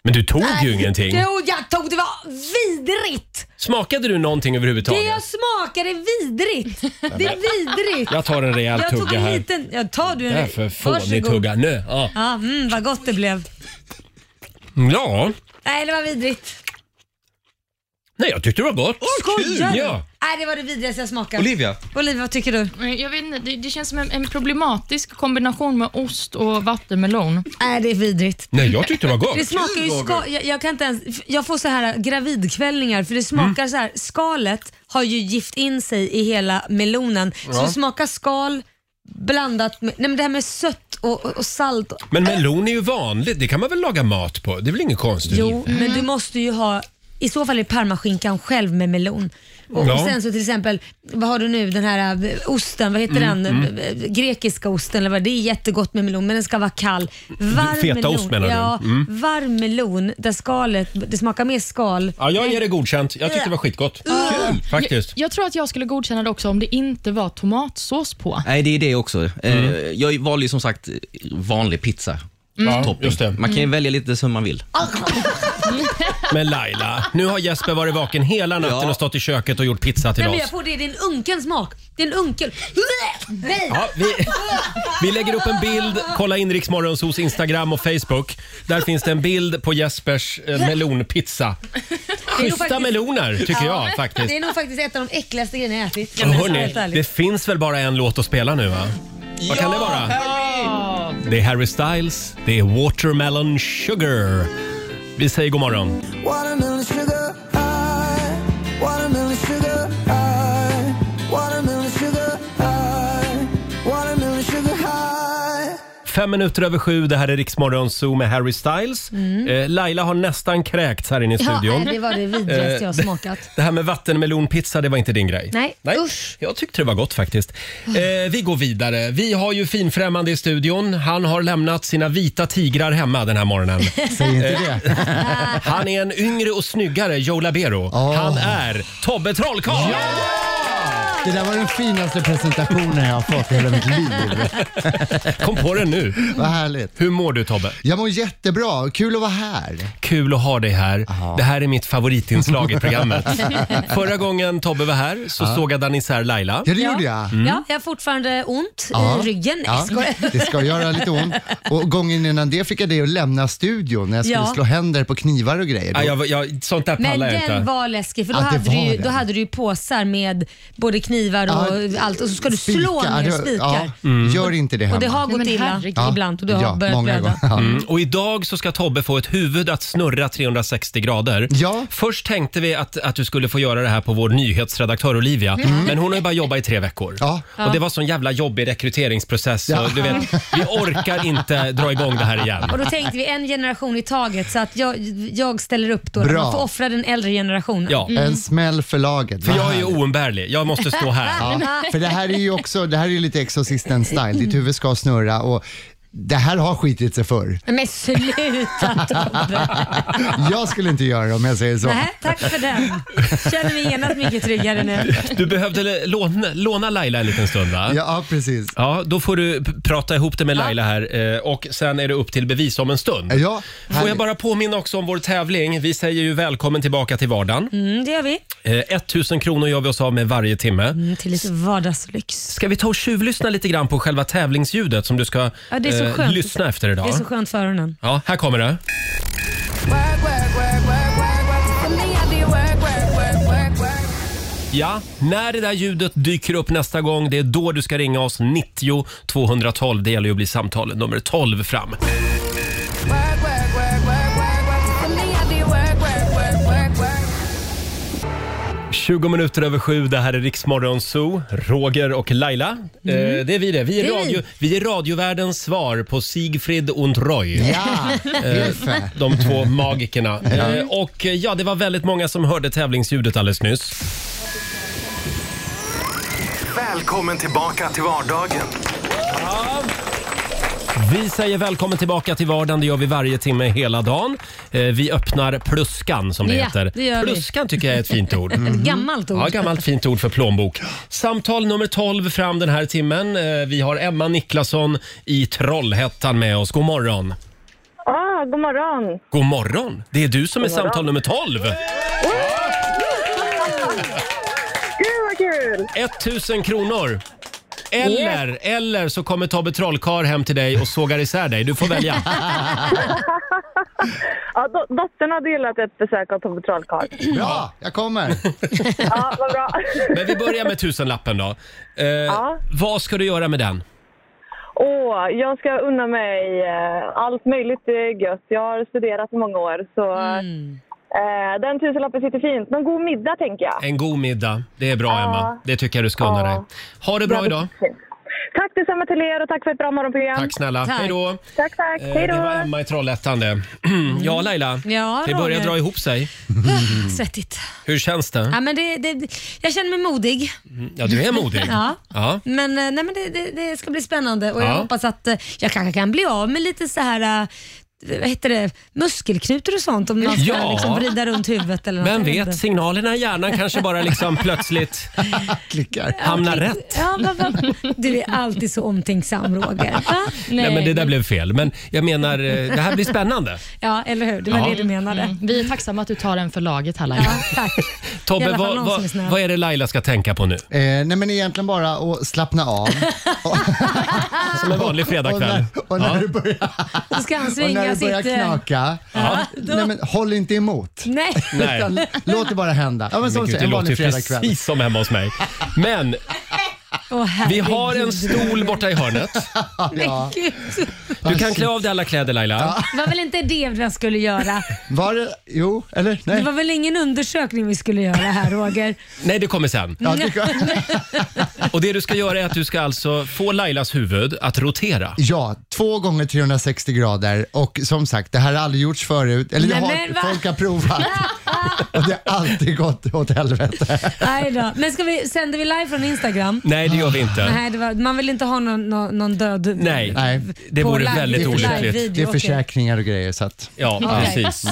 A: Men du tog ju ingenting.
B: Jo, jag tog det var vidrigt!
A: Smakade du någonting
B: Det
A: överhuvudtaget?
B: jag smakade är vidrigt. Det är vidrigt.
A: Jag tar en rejäl
B: Jag tog
A: tugga
B: en
A: här.
B: liten... Ja, tar du
A: Det är
B: en...
A: för fånig tugga. Nu. Ja.
B: Ja, mm, vad gott det blev.
A: ja.
B: Nej, det var vidrigt.
A: Nej, jag tyckte det var gott.
B: Skojar du?
A: Ja.
B: Nej, det var det vidrigaste jag smakat.
I: Olivia,
B: Olivia, vad tycker du?
C: Men Jag vet inte, det, det känns som en, en problematisk kombination med ost och vattenmelon.
B: Nej, det är vidrigt.
A: Nej, jag tyckte det var
B: Det
A: gott.
B: smakar ju ska- jag, jag kan inte ens, jag får så här gravidkvällningar för det smakar så här, skalet har ju gift in sig i hela melonen. Så det smakar skal blandat med, nej men det här med sött och, och och salt. Och,
A: Men melon är ju vanligt. Det kan man väl laga mat på? Det är väl inget konstigt?
B: jo, men du måste ju ha, i så fall är parmaskinkan själv med melon. Och
A: Ja.
B: sen så till exempel, vad har du nu, den här eh, osten, vad heter
A: Mm,
B: den? Eh, Grekiska osten eller vad det är. Det är jättegott med melon men den ska vara kall. Varm
A: Fetaost
B: melon.
A: menar du? Mm.
B: Ja, varm melon där skalet, det smakar mer skal.
A: Ja, jag ger det godkänt. Jag tyckte det var skitgott. Kul, faktiskt.
C: Jag, jag tror att jag skulle godkänna det också om det inte var tomatsås på.
I: Nej, det är det också. Eh,
G: Mm.
I: Jag valde ju som sagt vanlig pizza.
B: Mm.
A: Ja,
I: Topping.
A: just det.
I: Man kan ju välja lite som man vill.
A: Men Laila, nu har Jesper varit vaken hela natten
I: Ja.
A: och stått i köket och gjort pizza till
B: Nej, men
A: oss.
B: jag får det, det är en unken smak. Det är en unken... Nej!
A: Ja, vi, vi lägger upp en bild. Kolla in Rix Morgonzos Instagram och Facebook. Där finns det en bild på Jespers eh, melonpizza.
B: Det är nog
A: Schyssta
B: faktiskt-
A: meloner tycker
B: Ja,
A: jag faktiskt.
B: Det är nog faktiskt ett av de äckligaste grejerna jag ätit.
A: Och Hörrni,
B: Helt ärligt.
A: det finns väl bara en låt att spela nu va? Vad kan det vara? Det är Harry Styles, det är Watermelon Sugar. Vi säger god morgon.
H: Watermelon sugar high. Watermelon sugar high. Watermelon sugar high. Watermelon sugar high.
A: Fem minuter över sju, det här är Riksmorgon Zoo med Harry Styles. Eh, Laila har nästan kräkts här inne i
B: Mm. Ja,
A: studion.
B: nej, det var det
A: Eh,
B: vidrigaste jag
A: det-
B: har smakat.
A: Det här med vattenmelonpizza, det var inte din grej.
B: Nej, usch.
A: Jag tyckte det var gott faktiskt. Eh, vi går vidare. Vi har ju finfrämmande i studion. Han har lämnat sina vita tigrar hemma den här morgonen. Eh,
G: Säg inte det.
A: Han är en yngre och snyggare Joe Labero.
G: Åh.
A: Han är Tobbe Trollkarl!
G: Det där var den finaste presentationen jag har fått i hela mitt liv.
A: Kom på det nu.
G: Vad härligt.
A: Hur mår du Tobbe?
G: Jag mår jättebra. Kul att vara här.
A: Kul att ha dig här. Det här är mitt favoritinslag i programmet. Förra gången Tobbe var här så sågade han isär Laila.
G: Ja, det gjorde jag.
B: Ja, jag har fortfarande ont
G: Ja.
B: i ryggen. Nej,
G: Ja,
B: jag skojar.
G: det ska göra lite ont. Och gången innan det fick jag dig att lämna studion när jag skulle
B: Ja.
G: slå händer på knivar och grejer.
A: Nej, jag, jag, sånt där
B: Men
A: pallar jag inte.
B: den var läskig för då,
G: Ja, det
B: hade du,
G: var
B: ju,
G: den.
B: då hade du ju påsar med både knivar och
G: Ja,
B: allt och så ska du slå
G: spikar.
B: ner
G: Ja,
B: spikar.
G: Ja, Gör inte det hemma.
B: Och det har
C: Nej,
B: gått
C: men
B: illa
C: herregud.
G: Ja,
B: ibland och du har
G: ja,
B: börjat
G: många
B: blöda.
G: gånger. Ja.
A: Mm, Och idag så ska Tobbe få ett huvud att snurra 360 grader.
G: Ja.
A: Först tänkte vi att, att du skulle få göra det här på vår nyhetsredaktör Olivia, men hon har ju bara jobbat i tre veckor.
G: Mm. Ja.
A: Och det var sån jävla jobbig rekryteringsprocess.
G: Ja.
A: Och du vet, vi orkar inte dra igång det här igen.
B: Och då tänkte vi en generation i taget så att jag, jag ställer upp då.
G: Bra.
B: Man får offra den äldre generationen.
A: Ja,
G: En smäll för laget.
A: för
G: Vad
A: jag är ju
G: härligt.
A: oumbärlig. Jag måste stå här.
G: Ja, för det här är ju också, det här är ju lite Exorcisten-style. Ditt huvud ska snurra och det här har skitit sig förr.
B: Men sluta Tobbe!
G: Jag skulle inte göra det om jag säger så.
B: Nej, tack för den. Känner mig genast mycket tryggare nu.
A: Du behövde låna, låna Laila en liten stund va?
G: Ja, Ja, precis.
A: Ja, då får du p- prata ihop det med Laila här eh, och sen är det upp till bevis om en stund.
G: Ja,
A: Får
G: härligt.
A: jag bara påminna också om vår tävling. Vi säger ju välkommen tillbaka till vardagen.
B: Mm, det gör vi.
A: Eh, 1000 kronor gör vi oss av med varje timme.
B: Mm, till lite vardagslyx.
A: Ska vi ta och tjuvlyssna lite grann på själva tävlingsljudet som du ska
B: Ja, det är så
A: eh,
B: skönt.
A: lyssna efter idag?
B: Det är så skönt för öronen.
A: Ja, här kommer det.
H: Work, work, work, work, work, work. For me, I do work, work, work, work, work.
A: Ja, när det där ljudet dyker upp nästa gång, det är då du ska ringa oss 90 212. Det gäller ju att bli samtal nummer 12 fram.
H: Work, work, work, work, work, work. For me, I do work, work, work, work, work.
A: 20 minuter över sju, det här är Riksmorgon Zoo, Roger och Laila. Eh, det är vi det. Vi är,
B: Det är
A: radio, vi är radiovärldens svar på Sigfrid und Roy.
G: Ja, ungefär.
A: De två magikerna. Eh, och eh, ja, det var väldigt många som hörde tävlingsljudet alldeles nyss.
J: Välkommen tillbaka till vardagen.
A: Vi säger välkommen tillbaka till vardagen. Det gör vi varje timme hela dagen. Eh, vi öppnar pluskan som det
B: Ja,
A: heter.
B: det gör vi.
A: pluskan tycker jag är ett fint ord.
G: Mhm.
B: Ett gammalt ord.
A: Ja, gammalt fint ord för plånbok. Samtal nummer 12 fram den här timmen. Eh, Vi har Emma Niklasson i Trollhättan med oss. God morgon.
F: Ah, god morgon.
A: God morgon! Det är du som är samtal nummer 12!
F: Gud vad kul!
A: 1000 kronor! Eller, eller så kommer Tobbe Trollkarl hem till dig och sågar isär dig. Du får välja.
F: Ja, do- dottern hade gillat ett besök av Tobbe Trollkarl.
G: Bra, jag kommer.
F: Ja, vad bra.
A: Men vi börjar med tusenlappen då. Eh, Vad ska du göra med den?
F: Åh, jag ska unna mig eh, allt möjligt eh, gött. Jag har studerat i många år, så
A: Mm.
F: eh, den tusenlappen sitter fint. Men god middag, tänker jag.
A: En god middag. Det är bra, Emma. Det tycker jag du ska unna
F: Ja.
A: dig. Ha det bra
F: Ja,
A: idag.
F: det- Tack detsamma till er och tack för ett bra morgonprogram.
A: Tack snälla. Tack. Hej då.
F: Tack, tack.
A: Eh,
F: Hej
A: Det var
F: då.
A: Emma i Trollhättan det. Ja, Laila.
B: Ja,
A: det börjar
B: Roger.
A: dra ihop sig.
B: Svettigt.
A: Hur känns det?
B: Ja, men det, det, jag känner mig modig.
A: Mm, Ja, du är modig.
B: Ja.
A: Ja.
B: Men, eh, nej, men det, det, det ska bli spännande och jag
A: Ja.
B: hoppas att eh, jag kanske kan bli av med lite så här eh, vad heter det, muskelknutor och sånt om man ska
A: Ja.
B: liksom vrida runt huvudet eller något.
A: Vem
B: Jag
A: vet,
B: inte.
A: signalerna i hjärnan kanske bara liksom plötsligt
G: klickar.
A: hamnar rätt.
B: Ja, vad, vad, du är alltid så omtänksam Roger. Va?
A: Nej. men det där blev fel. Men jag menar, eh, det här blir spännande.
B: Ja, eller hur? Det var
A: Ja. Mm.
B: det du menade.
C: Vi är tacksamma att du tar en för laget här Laila.
A: Tobbe,
B: I alla fall
A: vad,
B: någon som är
A: vad,
B: snäll.
A: vad är det Laila ska tänka på nu?
G: Eh, nej men egentligen bara att slappna av.
A: Som en vanlig fredagkväll.
G: Och när, och när
A: Ja.
G: det börjar,
B: Då ska han
G: och när
B: svinga
G: det
B: sitt...
G: börjar
B: eh,
G: knaka, nej, men, håll inte emot.
B: Nej.
A: Nej.
G: Utan, låt det bara hända. Ja, men
A: Men
G: som
A: gud,
G: sagt,
A: det
G: en
A: låter ju
G: vanlig fredagkväll.
A: precis som hemma hos mig. Men
B: Åh,
A: vi har en
B: herregud.
A: stol borta i hörnet.
G: Ja.
B: Gud.
A: Du kan klä av dig alla kläder Laila.
B: Det var väl inte det vi skulle göra?
G: Var det, jo, eller?
B: Det
G: Nej.
B: var väl ingen undersökning vi skulle göra här Roger?
A: Nej, det kommer sen.
G: Ja, det,
A: Och det du ska göra är att du ska alltså få Lailas huvud att rotera.
G: ja, två gånger 360 grader och som sagt, det här har aldrig gjorts förut. Eller det
B: Nej,
G: har,
B: men va?
G: folk har provat. och det har alltid gått åt helvete.
B: Nej då. Men ska vi, sänder vi live från Instagram?
A: Nej, det gör vi inte.
B: Nej, det var, man vill inte ha någon, någon, någon död
A: Nej,
G: Nej.
A: det
B: på
A: vore
B: live-
A: väldigt
G: live-
A: olyckligt.
G: Det
B: video,
G: är
B: okej.
G: försäkringar och grejer. Så att,
A: Ja,
B: Okej. Mm.
A: precis.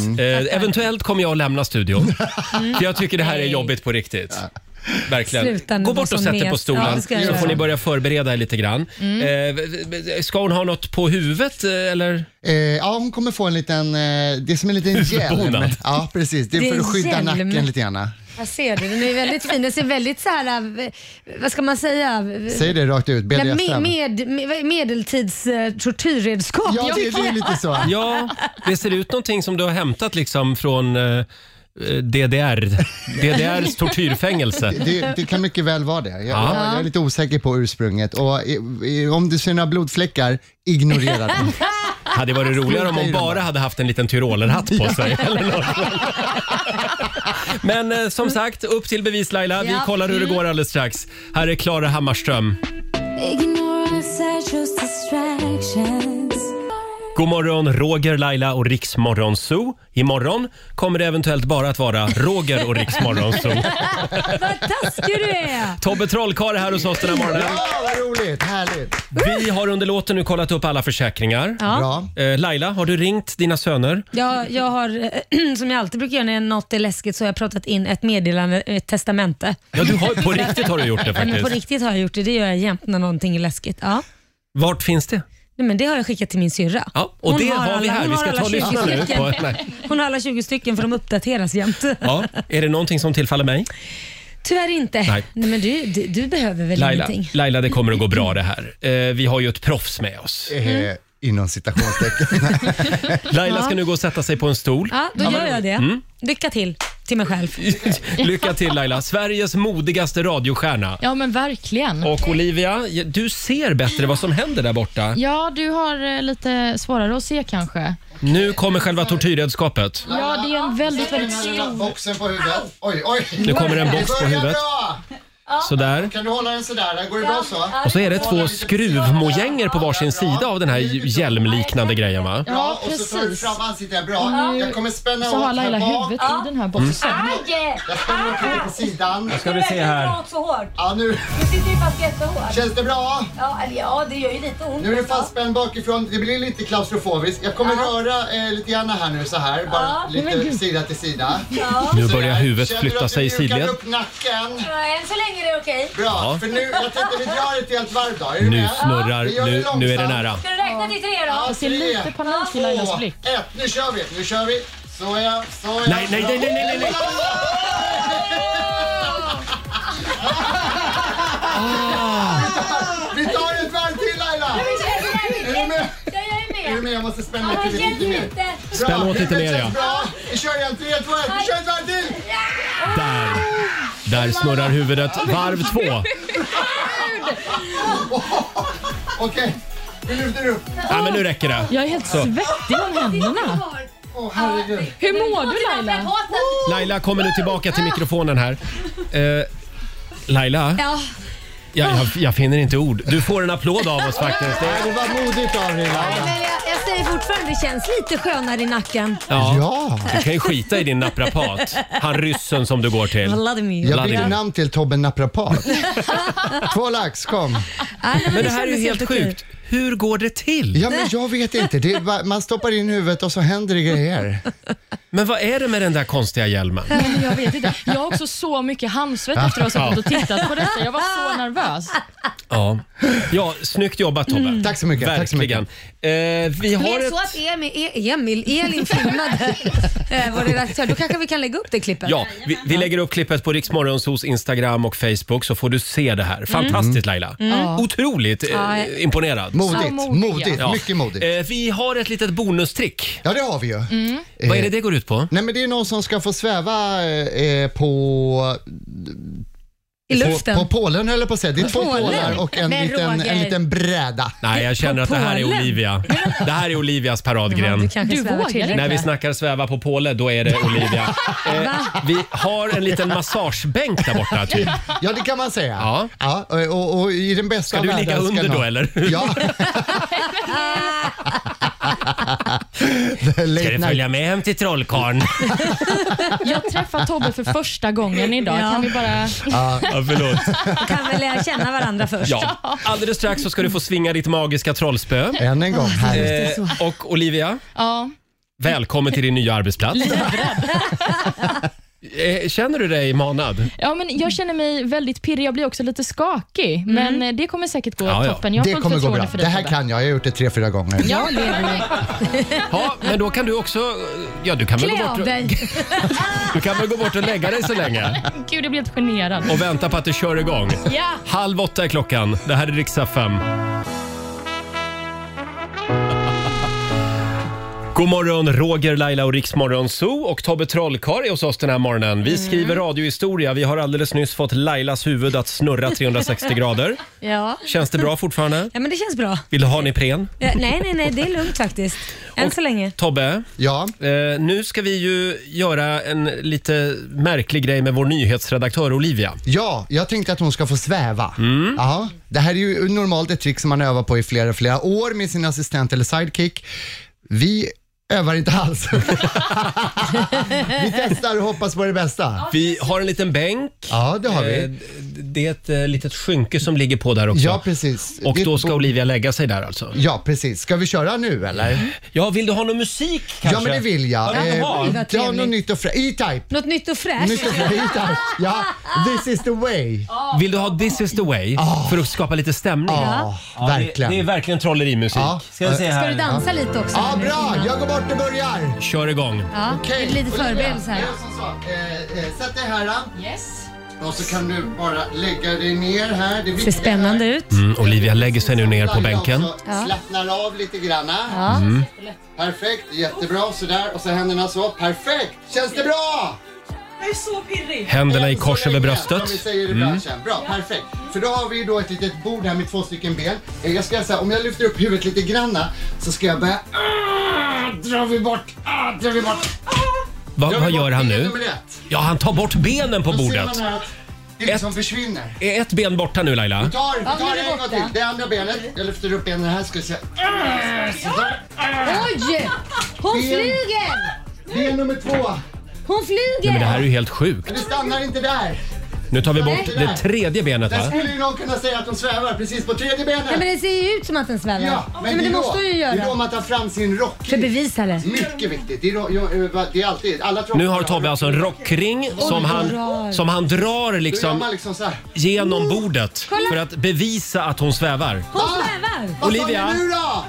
A: Eh, eventuellt kommer jag att lämna studion. För jag tycker det här är jobbigt på riktigt. Verkligen.
B: Sluta nu,
A: Gå
B: var
A: bort och
B: så
A: sätt dig
B: mes.
A: på
B: Ja,
A: stolen
B: det ska jag
A: så
B: göra. Mm.
A: får ni börja förbereda er lite grann. Eh, v- v- ska hon ha något på huvudet eh, eller?
G: eh, ja, hon kommer få en liten, eh, det är som en liten hjälm.
A: Huvudbonad.
G: Ja, precis. Det är
B: Det är
G: för att skydda
B: hjälm.
G: nacken lite grann.
B: Jag ser det. Den är väldigt fin. Den ser väldigt så här, eh, vad ska man säga?
G: Säg det rakt ut.
B: Nej,
G: BDSM.
B: Med, med, med, medeltids eh, tortyrredskap.
G: Ja, det, det är lite så.
A: Ja, det ser ut någonting som du har hämtat liksom från eh, DDR. DDRs tortyrfängelse.
G: Det, det kan mycket väl vara det. Jag,
A: Ja.
G: jag, jag är lite osäker på ursprunget. Och, i, i, om du ser några blodfläckar, ignorera dem.
A: Hade varit roligare om hon bara hade haft en liten tyrolerhatt på sig. Eller något. Men eh, som sagt, upp till bevis Laila. Vi
B: Ja.
A: kollar hur det går alldeles strax. Här är Klara Hammarström. God morgon, Roger, Laila och Riksmorgon Zoo. Imorgon kommer det eventuellt bara att vara Roger och Riksmorgon Zoo.
B: Vad taskig du är!
A: Tobbe Trollkarl är här hos oss den här morgonen.
G: Ja, vad roligt. Härligt.
A: Vi har under låten nu kollat upp alla försäkringar.
B: Ja.
G: Bra.
A: Eh, Laila, har du ringt dina söner?
B: Jag, jag har, eh, som jag alltid brukar göra när något är läskigt, så har jag pratat in ett meddelande, ett testamente.
A: Ja, du har, på riktigt har du gjort det
B: Nej, men på
A: faktiskt.
B: riktigt har jag gjort det. Det gör jag jämt när någonting är läskigt. Ja.
A: Vart finns det?
B: Nej, men det har jag skickat till min syrra.
A: Ja, och
B: Hon
A: det har, vi
B: alla-
A: här.
B: hon
A: Vi
B: har
A: ska
B: alla
A: ta och
B: 20
A: lyssna nu.
B: stycken.
A: På, nej.
B: Hon har alla 20 stycken för de uppdateras jämt.
A: Ja, är det någonting som tillfaller mig?
B: Tyvärr inte.
A: Nej.
B: Nej. men du, du, du behöver väl
A: Laila,
B: ingenting?
A: Laila, det kommer att gå bra det här. Eh, vi har ju ett proffs med oss.
G: Eh, inom citationstecken.
A: Laila ska nu gå och sätta sig på en stol.
B: Ja, då gör jag det.
A: Mm.
B: Lycka till till mig själv.
A: Lycka till Laila, Sveriges modigaste radiostjärna.
C: Ja men verkligen.
A: Och Olivia, du ser bättre vad som händer där borta.
C: Ja, du har eh, lite svårare att se kanske.
A: Nu kommer själva tortyrredskapet.
C: Ja, det är en väldigt, väldigt stor...
G: Boxen på huvudet. Oj, oj.
A: Nu kommer en box på
G: Det börjar
A: huvudet.
G: bra.
A: Sådär.
G: Kan du hålla den sådär? Går det bra så?
A: Och så är det två skruvmojänger på varsin sida av den här hjälmliknande grejen va?
C: Ja,
G: och så tar du
C: precis.
G: fram ansiktet där.
B: Mm.
G: bra. Jag kommer spänna
C: Så har
G: åt
C: Laila
G: här bak.
C: huvudet i den här
G: Mm.
C: boxen.
G: Jag spänner åt här på sidan.
A: Ska vi se här.
B: så hårt.
G: Ja, nu
B: Ah! Du sitter ju fast jättehårt.
G: känns det bra.
B: Ja, ja, det gör ju lite ont.
G: Nu är det fastspänd bakifrån. Det blir lite klaustrofobiskt. Jag kommer röra eh, lite grann här nu så här. Bara lite sida till sida.
A: Nu börjar huvudet
G: Känner du
A: flytta
G: att du
A: sig i
G: mjukar
A: sidled.
G: upp nacken.
B: Än så länge är det okej.
G: Bra, för nu, jag tänkte vi drar ett helt varv då. Är du
A: Nu
G: med?
A: snurrar,
G: Vi gör
A: nu,
G: långsamt.
A: nu är det nära.
B: Ska du räkna till tre då?
G: Ja,
C: Jag ser
G: tre,
C: lite panik i Lailas blick.
G: Två, ett, eh, nu kör vi, nu kör vi. Så ja, så ja.
A: Nej, nej, nej, nej, nej, nej.
G: Vi tar ett varv till Laila! Är du med? Är du med? Jag måste spänna till dig lite mer. Bra,
A: Spänn åt lite
G: huvudet
A: mer, ja.
G: känns bra. Vi kör igen, tre, två, ett. Vi kör ett varv till!
A: Där. Där snurrar huvudet. Varv två.
G: Okej, vi lyfter upp.
A: Ja, men nu räcker det.
C: Jag är helt svettig om händerna.
G: Åh herregud.
C: Hur mår du Laila?
A: Laila kommer nu tillbaka till mikrofonen här. Eh, Laila,
B: Ja,
A: Jag, jag, jag finner inte ord. Du får en applåd av oss faktiskt. Det
G: Det var modigt av dig. Laila.
B: Men jag, jag säger fortfarande, det känns lite skönare i nacken.
A: Ja. Du kan ju skita i din naprapat. Han ryssen som du går till.
B: Vladimir.
G: Jag bytte namn till Tobbe Naprapat. Två lax, kom.
A: Men det här är ju helt sjukt. Hur går det till?
G: Ja, men jag vet inte. Det är, bara- man stoppar in huvudet och så händer det grejer.
A: Men vad är det med den där konstiga hjälmen?
C: Men jag vet inte. Jag har också så mycket handsvett efter att ha suttit och tittat på detta. Jag var så nervös.
A: Ja, ja snyggt jobbat Tobbe.
G: Mm. Tack så mycket. Tack så
A: Verkligen.
G: mycket.
A: Eh, vi
B: Det
A: har
B: är så
A: ett...
B: att Emil, E- Emil Elin filmade eh, vår redaktör. Då kanske vi kan lägga upp det klippet.
A: Ja, vi, vi lägger upp klippet på Riksmorgonsos Instagram och Facebook så får du se det här. Fantastiskt Laila. Otroligt eh,
B: Ja.
A: imponerad.
G: Modigt,
C: Ja, modiga.
G: modigt,
A: Ja.
G: mycket modigt.
A: Eh, vi har ett litet bonustrick.
G: Ja, det har vi ju.
A: Vad är det det går ut på?
G: Nej, men det är någon som ska få sväva eh, på,
B: I
G: på,
B: luften.
G: på Polen höll jag på att säga. Det är två
B: Polen?
G: pålar och en
B: Men
G: liten,
B: Roger.
G: en liten bräda.
A: Nej, jag känner att det här är
B: Polen.
A: Olivia. Det här är Olivias
B: Ja, du
A: paradgren.
B: kanske
C: Du
B: svävar
C: vågar
B: till.
C: inte.
A: När vi snackar sväva på påle, då är det Olivia. Eh, vi har en liten massagebänk där borta typ.
G: Ja, det kan man säga.
A: Ja.
G: och, och, och i den bästa
A: Ska du
G: världen
A: ligga under
G: någon-
A: då, eller?
G: Ja. The
A: Ska
G: late
A: du
G: night.
A: följa med hem till trollkarln?
C: Jag träffar Tobbe för första gången idag.
B: Ja.
C: Kan vi bara...
A: Ja, förlåt.
B: Då Ah, kan väl lära känna varandra först.
A: Ja. Alldeles strax så ska du få svinga ditt magiska trollspö.
G: Än en gång. Här.
A: Eh, och Olivia,
C: Ja.
A: välkommen till din nya arbetsplats. Eh, Känner du dig manad?
C: ja, men jag känner mig väldigt pirrig. Jag blir också lite skakig, men eh, det kommer säkert gå
A: Ja, ja.
C: toppen. Jag har
G: Det
C: fullt
G: kommer gå
C: förtroende
G: bra.
C: för
G: Det
C: dig,
G: här
C: Tobbe.
G: kan jag. Jag har gjort det tre, fyra gånger.
B: Ja, det är det.
A: Ja, men då kan du också... Ja, du kan väl, gå
B: Klä
A: bort
B: av
A: och,
B: dig.
A: du kan väl gå bort och lägga dig så länge
C: Gud, jag blir helt generad.
A: och vänta på att det kör igång.
C: Ja.
A: Halv åtta är klockan. Det här är riksdag 5. God morgon, Roger, Laila och Riksmorgon Zoo och Tobbe Trollkarl är hos oss den här morgonen. Vi skriver radiohistoria. Vi har alldeles nyss fått Lailas huvud att snurra 360 grader.
B: Ja.
A: Känns det bra fortfarande?
B: ja, men det känns bra.
A: Vill du ha en Ipren?
B: Ja, nej, nej, nej, det är lugnt faktiskt. Än så länge.
A: Tobbe,
G: Ja.
A: eh, nu ska vi ju göra en lite märklig grej med vår nyhetsredaktör Olivia.
G: Ja, jag tänkte att hon ska få sväva.
A: Mm.
G: Ja, det här är ju normalt ett trick som man övar på i flera, flera år med sin assistent eller sidekick. Vi övar inte alls. vi testar och hoppas på det bästa.
A: Vi har en liten bänk.
G: Ja, det har
A: Eh,
G: vi.
A: d- Det är ett eh, litet skynke som ligger på där också.
G: Ja, precis.
A: Och
G: Det-
A: då ska Olivia lägga sig där alltså?
G: Ja, precis. Ska vi köra nu eller?
A: Ja, vill du ha någon musik Mm. kanske?
G: Ja, men det vill jag.
A: Ja, jaha.
G: Eh,
B: vad
G: Ja, något
B: trevligt.
G: nytt och fräscht. E-Type.
B: Något nytt och fräscht.
G: Nytt och fräscht. E-Type. Ja, this is the way.
A: Vill du ha This is the way? För att skapa lite stämning?
G: Ah. Ja,
A: Det, det är
G: verkligen.
A: verkligen trollerimusik.
G: Ja.
A: Ska vi se
B: Ska du
A: här.
B: dansa lite också?
G: Ja, bra. Jag går bort och börjar.
A: Kör igång.
B: Ja,
G: Okej,
B: det är lite
G: Olivia,
B: förberedelse här.
G: gör som så. Eh, eh, Sätt dig här. då.
C: Yes.
G: Och så kan du bara lägga dig ner här. Det
B: Ser spännande ut.
A: Mm, Olivia lägger sig nu ner på bänken. Mm.
G: Ja. Slappnar av lite grann.
B: Ja.
G: Perfekt, jättebra sådär. Och så händerna så. Perfekt! Känns det bra?
A: Händerna i
G: Än så
A: kors över
G: länge, Som vi
A: bröstet. Mm.
G: säger i branschen. Bra, perfekt. För då har vi ju då ett litet bord här med två stycken ben. Eh, Jag ska göra så här, om jag lyfter upp huvudet lite granna så ska jag börja... Ah, drar vi bort, ah, drar vi bort. Ah,
A: Va,
G: drar
A: vad
G: vi bort
A: gör han
G: ben
A: nu?
G: nummer ett.
A: Ja, han tar bort benen på
G: Då ser
A: bordet.
G: man här att det liksom försvinner.
A: Är ett ben borta nu
G: Vi
A: Laila?
G: tar, vi
B: Ja,
G: tar
B: nu
G: det
B: är det
G: en gång
B: borta.
G: till. Det andra benet. Jag lyfter upp benen här ska vi se. Ah, sådär.
B: Oj!
G: Ben.
B: Hon flyger!
G: Ben nummer två.
B: Hon
A: Nej,
B: flyger!
A: men det här är ju helt sjukt.
G: Men det stannar inte där.
A: Nu tar vi bort det tredje benet
G: Där
A: va?
G: skulle ju någon kunna säga att de svävar precis på tredje
B: Nej,
G: benet.
B: men det ser ju ut som att den svävar.
G: Ja, men,
B: Nej, men det
G: är
B: måste
G: då,
B: hon ju
G: Det är då
B: göra.
G: man tar fram sin rock.
B: För bevisare.
G: Mycket viktigt. Det är, då, jo, eh, va- det är alltid, alla
A: Nu har Tobbe alltså en rockring som han, som han drar
G: Som...
A: liksom
G: Man liksom så här.
A: genom bordet för att bevisa att hon svävar.
B: Hon svävar!
G: Vad
A: Olivia?
G: sa ni nu då?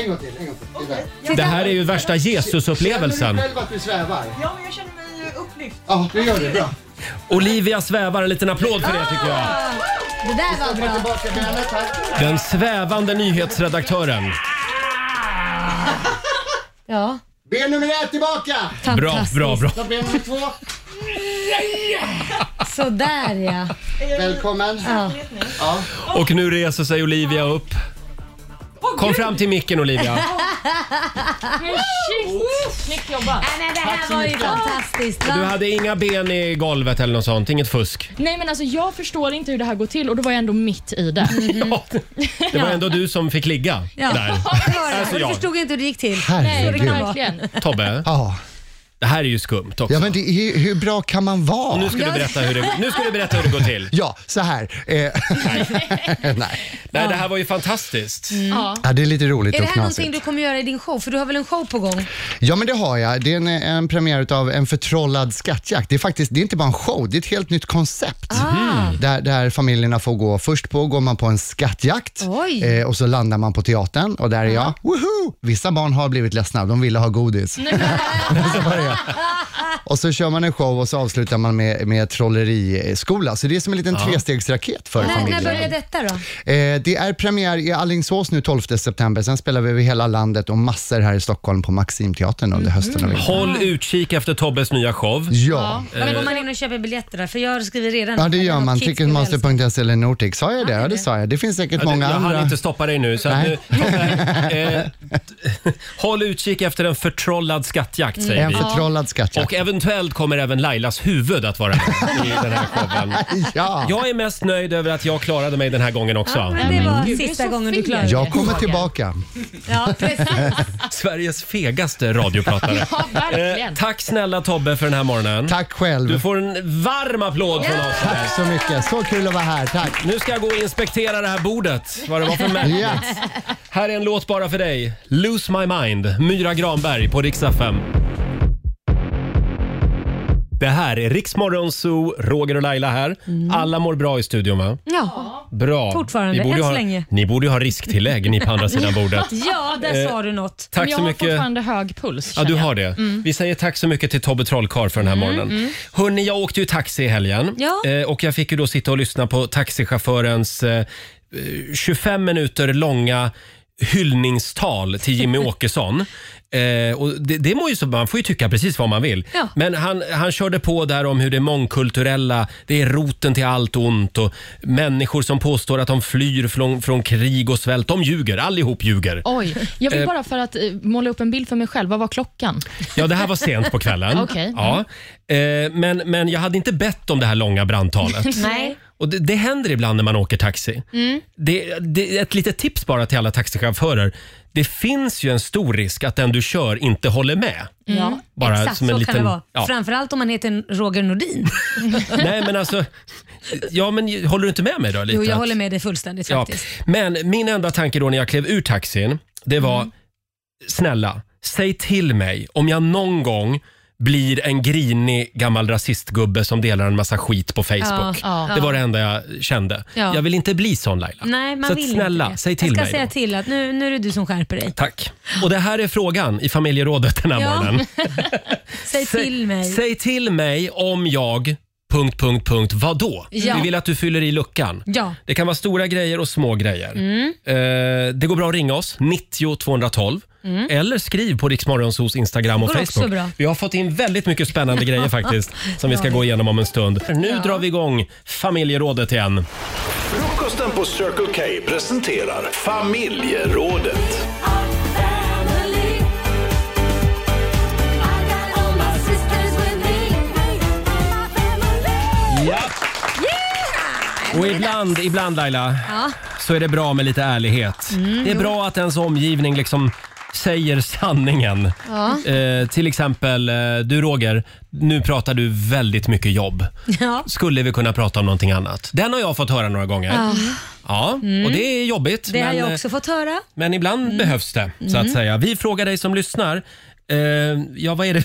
G: En gång till, en gång till. Det där.
A: Det här är ju värsta
G: Känner
A: Jesusupplevelsen.
G: du själv att du svävar? Ja, men jag känner mig upplyft. Ja, det gör du. Bra.
A: Olivia svävar, en liten applåd för det tycker jag.
B: Det där var
G: Dra
B: bra.
G: tillbaka benet här.
A: Den svävande nyhetsredaktören.
B: Ja,
G: Ben nummer ett tillbaka.
A: Bra,
B: fantastiskt.
A: bra, bra.
G: Ta ben nummer två.
B: Sådär ja.
G: Välkommen.
B: ja.
A: Och nu reser sig Olivia upp. Kom fram till micken Olivia.
C: Men shit! Snyggt jobbat.
B: Nej, men det
C: Tack
B: här
C: så
B: var ju
C: mycket.
B: fantastiskt.
A: Du
B: Va?
A: hade inga ben i golvet eller något sånt, inget fusk.
C: Nej men alltså jag förstår inte hur det här går till och då var jag ändå mitt i det.
A: Mm. Det var ändå du som fick ligga
B: Ja,
A: där.
B: det var det.
A: Alltså
B: Och du
A: jag.
B: förstod inte hur det gick till.
G: Herregud.
B: Så det kan vara.
C: Verkligen.
A: Tobbe,
G: Ja.
A: det här är ju skumt också.
G: Ja, men det, hur, hur bra kan man vara?
A: Nu ska, du
B: Ja.
A: berätta hur det, nu ska du berätta hur det går till.
G: Ja, så här. Eh, nej.
A: Nej, det här var ju fantastiskt.
C: Ja.
G: Ja, det är lite roligt
B: Är det
G: och
B: här
G: knasigt.
B: någonting du kommer göra i din show? För du har väl en show på gång?
G: Ja, men det har jag. Det är en, en premiär av En förtrollad skattjakt. Det är faktiskt det är inte bara en show, det är ett helt nytt koncept.
B: Ah.
G: Mm. Där, där familjerna får gå. Först på går man på en skattjakt
B: Oj.
G: eh, och så landar man på teatern och där är jag. Woohoo! Vissa barn har blivit ledsna, de ville ha godis. Så var det. och så kör man en show och så avslutar man med, med trolleriskola. Så det är som en liten trestegsraket för
B: När, när
G: familjen.
B: börjar detta då?
G: Eh, det är premiär i Allingsås nu 12 september. Sen spelar vi över hela landet och massor här i Stockholm på Maximteatern under
A: Mm.
G: hösten och vintern.
A: Håll utkik efter Tobbes nya show.
G: Ja.
B: Men går man in och köper biljetter där? För jag skriver redan.
G: ja, det
B: Jag
G: gör
B: har
G: man.
B: kids skulle
G: Ticketmaster.se eller Nordic. Sa jag det? Ja,
B: det
G: det
B: är
G: sa jag. Det finns säkert
A: Ja, det-
G: många
A: jag hann
G: andra.
A: inte stoppa dig nu. Så att nu
G: Nej.
A: Tobbe, eh, t- håll utkik efter en förtrollad skattjakt säger
G: Mm. En
A: vi.
G: förtrollad skattjakt.
A: Och eventuellt kommer även Lailas huvud att vara med i den här showen.
G: Ja.
A: Jag är mest nöjd över att jag klarade mig den här gången också.
B: älska. Men det var
C: Gud, du är
B: sista
C: så
B: gången du
C: fin.
B: klarade
G: Jag kommer
C: Roger.
G: tillbaka.
B: Ja, precis.
A: Sveriges fegaste radiopratare.
C: Ja, verkligen.
A: Eh, tack snälla Tobbe för den här morgonen.
G: Tack själv.
A: Du får en varm applåd från oss.
G: Tack så mycket. Så kul att vara här. Tack.
A: Nu ska jag gå och inspektera det här bordet. Vad det var för människa.
G: Ja.
A: Här är en låt bara för dig. Lose My Mind, Myra Granberg på Rix FM. Det här är Riksmorgon Zoo, Roger och Laila här. Alla mår bra i studion va?
B: Ja.
A: Bra.
B: Mm. Fortfarande,
A: ni borde
B: än
A: ju
B: så
A: ha,
B: länge.
A: Ni borde ju ha risktillägg ni på andra sidan bordet.
B: ja, där
A: Eh,
B: sa du något.
A: Tack
C: Men jag
A: så
C: har
A: mycket.
C: fortfarande hög puls.
A: Ja,
C: känner
A: du
C: jag.
A: har det. Vi säger tack så mycket till Tobbe Trollkarl för den här morgonen. Hörni, jag åkte ju taxi i helgen
B: Ja.
A: Eh, och jag fick ju då sitta och lyssna på taxichaufförens eh, eh, 25 minuter långa hyllningstal till Jimmy Åkesson. Eh, och det, det må ju så, man får ju tycka precis vad man vill.
B: Ja.
A: Men han, han körde på där om hur det mångkulturella, det är roten till allt ont och människor som påstår att de flyr från, från krig och svält, de ljuger. Allihop ljuger.
C: Oj. Jag vill bara för att eh, måla upp en bild för mig själv. Vad var klockan?
A: Ja, det här var sent på kvällen.
C: Okej.
A: Ja. Eh, men, men jag hade inte bett om det här långa brandtalet.
B: Nej.
A: Och det, det händer ibland när man åker taxi. Det, det, ett litet tips bara till alla taxichaufförer. Det finns ju en stor risk att den du kör inte håller med.
B: Ja,
A: Mm. Bara
B: exakt
A: som en
B: så
A: liten-
B: kan det vara.
A: ja.
B: Framförallt om man heter Roger Nordin.
A: Nej, men alltså... Ja, men håller du inte med mig då? Lite
B: Jo, jag
A: att-
B: håller med dig fullständigt
A: Ja.
B: faktiskt.
A: Men min enda tanke då när jag klev ur taxin, det var
B: Mm.
A: snälla, säg till mig om jag någon gång blir en grinig gammal rasistgubbe som delar en massa skit på Facebook.
C: Ja, ja.
A: Det var det enda jag kände.
B: Ja.
A: Jag vill inte bli sån Laila.
B: Nej, man
A: Så att
B: vill
A: snälla,
B: inte det.
A: säg till
B: jag ska
A: mig
B: säga
A: då.
B: till att nu, nu är det du som skärper dig.
A: Tack. Och det här är frågan i familjerådet den här
B: Ja.
A: morgonen.
B: Säg till mig.
A: Säg till mig om jag... Punkt, punkt, punkt. Vadå?
B: Ja.
A: Vi vill att du fyller i luckan.
B: Ja. Mm.
A: Det kan vara stora grejer och små grejer. Eh, det går bra att ringa oss, 90 212. Eller skriv på Riksmorgonsos Instagram och
B: Mm. Det går också
A: Facebook.
B: bra.
A: Vi har fått in väldigt mycket spännande grejer faktiskt som vi ska gå igenom om en stund. Nu drar vi igång familjerådet igen.
E: Frukosten på Circle K presenterar familjerådet.
A: Ja. Och ibland, ibland Laila, så är det bra med lite ärlighet.
B: Mm,
A: det är bra att ens omgivning liksom säger sanningen. Eh, till exempel, eh, du Roger, nu pratar du väldigt mycket jobb.
B: Ja.
A: Skulle vi kunna prata om någonting annat? Den har jag fått höra några gånger. Ja, och det är jobbigt.
B: Mm. Det har
A: men,
B: jag
A: eh,
B: också Mm. fått höra.
A: men ibland behövs det, så att säga. Vi frågar dig som lyssnar. Eh, ja, vad är det,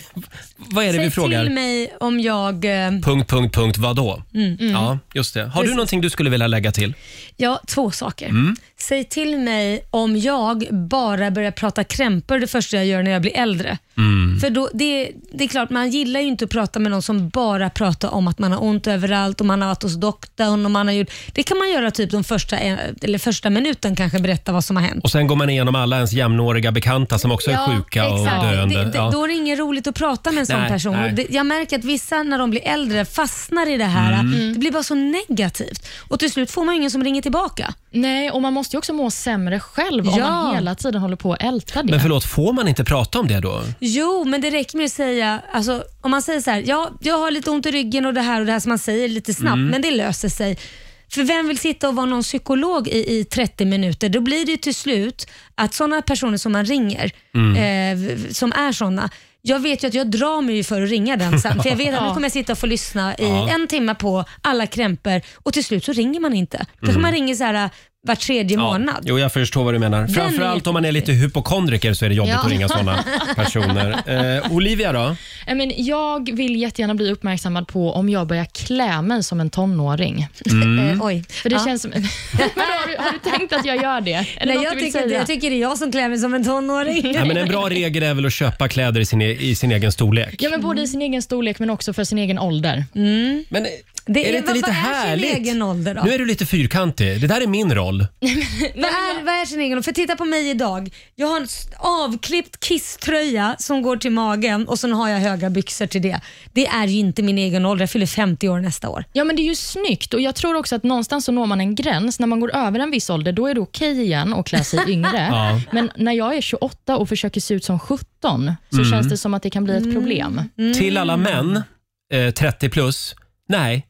A: vad är det vi
B: Säg
A: frågar?
B: till mig om jag... eh,
A: Punkt, punkt, punkt, vadå? Ja, just det. Har du
B: mm. Precis.
A: någonting du skulle vilja lägga till?
B: Ja, två saker.
A: Mm.
B: Säg till mig om jag bara börjar prata krämpor det första jag gör när jag blir äldre.
A: Mm.
B: För då, det, det är klart, man gillar ju inte att prata med någon som bara pratar om att man har ont överallt och man har varit hos doktorn och man har gjort... Det kan man göra typ de första, eller första minuten kanske, berätta vad som har hänt.
A: Och sen går man igenom alla ens jämnåriga bekanta som också är sjuka
B: exakt.
A: och döende.
B: Det, det,
A: Ja.
B: Då är det inget roligt att prata med en sån
A: Nej,
B: person.
A: nej.
B: Och Det, jag märker att vissa när de blir äldre fastnar i det här.
C: Mm.
B: Det blir bara så negativt. Och till slut får man ju ingen som ringer tillbaka.
C: Nej, och man måste ju också må sämre själv om
B: Ja.
C: man hela tiden håller på att älta det.
A: Men förlåt, får man inte prata om det då?
B: Jo, men det räcker med att säga, alltså, om man säger så här, ja, jag har lite ont i ryggen och det här och det här som man säger lite snabbt,
A: Mm.
B: men det löser sig. För vem vill sitta och vara någon psykolog i, i 30 minuter? Då blir det ju till slut att sådana personer som man ringer,
D: Mm.
B: eh, v- som är sådana, jag vet ju att jag drar mig ju för att ringa den sen, för jag vet att nu
D: Ja.
B: kommer jag sitta och få lyssna i
D: Ja.
B: en timme på alla krämpor och till slut så ringer man inte. Då kan
A: Mm.
B: man ringa så här var tredje månad.
A: Jo, jag förstår vad du menar.
B: Den
A: Framförallt
B: är
A: om man är lite hypokondriker så är det jobbigt
C: Ja.
A: att ringa sådana personer. Eh, Olivia då?
C: Nej, Men jag vill jättegärna bli uppmärksammad på om jag börjar klä mig som en tonåring.
A: Mm. Eh,
B: oj.
C: För det känns som... men då, har, du, har du tänkt att jag gör det? Är det
B: Nej,
C: något
B: jag
C: du vill
B: tycker, inte-
C: säga?
B: jag tycker det är jag som klär mig som en tonåring.
A: Ja, men en bra regel är väl att köpa kläder i sin, e- i sin egen storlek.
C: Ja, men
A: Mm.
C: både i sin egen storlek men också för sin egen ålder.
A: Men
B: Det
A: är det
B: är,
A: inte
B: vad,
A: lite
B: vad är
A: härligt?
B: sin egen ålder då?
A: Nu är du lite fyrkantig. Det där är min roll.
B: vad, är, vad är sin egen ålder? För titta på mig idag. Jag har en s- avklippt kisströja som går till magen och sen har jag höga byxor till det. Det är ju inte min egen ålder. Jag fyller 50 år nästa år.
C: Ja, men det är ju snyggt och jag tror också att någonstans så når man en gräns. När man går över en viss ålder, då är det okej igen att klä sig yngre.
D: Ja.
C: Men när jag är 28 och försöker se ut som 17, så
A: Mm.
C: känns det som att det kan bli ett problem.
A: Till alla
C: Mm.
A: män, eh, 30 plus, nej,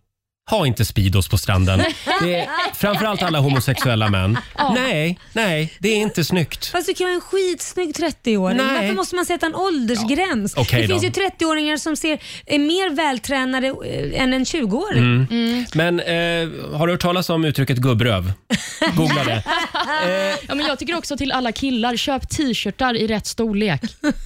A: ha inte Speedos på stranden. Det är, framförallt alla homosexuella män.
B: Ja.
A: Nej, nej, det är inte snyggt.
B: Fast du kan vara en skitsnygg 30-åring.
A: Nej.
B: Varför måste man sätta en åldersgräns?
A: Ja. Okej
B: det
A: då.
B: finns ju 30-åringar som ser, är mer vältränade eh, än en 20-åring.
A: Mm. Men eh, har du hört talas om uttrycket gubbröv? Googla det.
C: Ja, men jag tycker också till alla killar, köp t-shirtar i rätt storlek.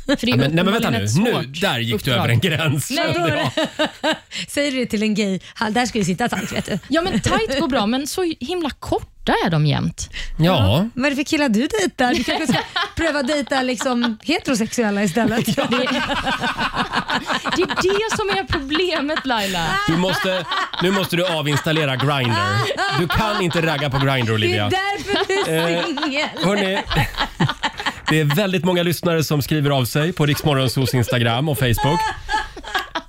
C: För det är
A: Ja, men, nej men vänta
C: uppenbarligen
A: nu,
C: ett
A: nu,
C: svårt
A: där gick
C: uppdrag.
A: du över en gräns.
C: Nej,
A: kände jag.
B: Säger du det till en gay, han, där ska du sitta tajt vet du.
C: Ja, men tajt går bra, men så himla korta är de jämt.
A: Ja.
B: Vad är det för killar du dejtar? Du kanske ska pröva dejta liksom heterosexuella istället.
C: Det är det som är problemet Laila.
A: Du måste, nu måste du avinstallera Grindr. Du kan inte ragga på Grindr Olivia.
D: Det är därför du är
A: Eh,
D: singel.
A: Hörni, det är väldigt många lyssnare som skriver av sig på Riksmorgonsos Instagram och Facebook.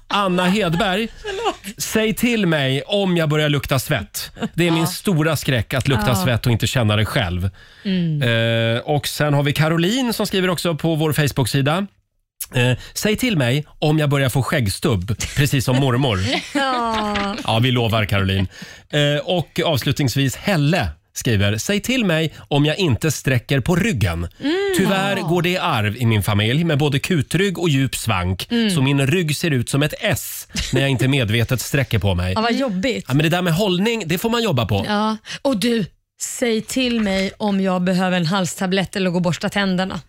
A: Anna Hedberg, säg till mig om jag börjar lukta svett. Det är min stora skräck att lukta
D: Ja.
A: svett och inte känna det själv. Eh, och sen har vi Caroline som skriver också på vår Facebook-sida. Eh, säg till mig om jag börjar få skäggstubb, precis som mormor.
B: Ja.
A: Ja, vi lovar Caroline. Eh, och avslutningsvis Helle skriver, säg till mig om jag inte sträcker på ryggen.
B: Mm.
A: Tyvärr går det i arv i min familj med både kutrygg och djup svank.
B: Mm.
A: Så min rygg ser ut som ett S när jag inte medvetet sträcker på mig.
B: Ja, vad jobbigt.
A: Ja, men det där med hållning, det får man jobba på.
B: Ja. Och du, säg till mig om jag behöver en halstablett eller gå och borsta tänderna.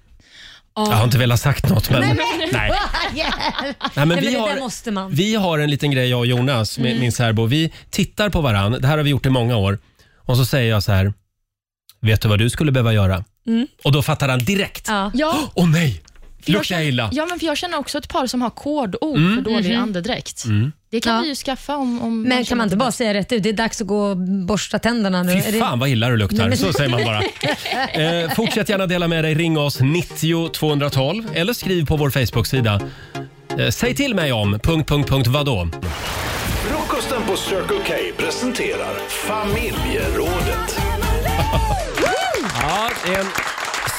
A: Jag har inte velat sagt något men... Nej. Nej, men vi
B: det
A: har-
B: där måste man.
A: Vi har en liten grej jag och Jonas, min,
B: Mm.
A: min särbo. Vi tittar på varann. Det här har vi gjort i många år. Och så säger jag så här. Vet du vad du skulle behöva göra?
C: Mm.
A: Och då fattar han direkt.
C: Ja. Ja.
A: Åh nej!
C: För jag
A: Luktar jag illa?
C: Ja, men för jag känner också ett par som har kodord
A: Mm.
C: för dålig
A: Mhm.
C: andedräkt.
A: Mm.
C: Det kan vi ju skaffa om, om
B: Men kan man inte bara säga rätt ut, det är dags att gå och borsta tänderna nu. Är
A: Fy
B: det-
A: fan vad illa du
B: Nej,
A: luktar.
B: men-
A: Så säger man bara. Eh, fortsätt gärna dela med dig. Ring oss 90 212 eller skriv på vår Facebook-sida. Eh, säg till mig om... Punkt, punkt, punkt, vadå?
E: Frukosten på Circle K presenterar Familjerådet.
A: Ja, det är en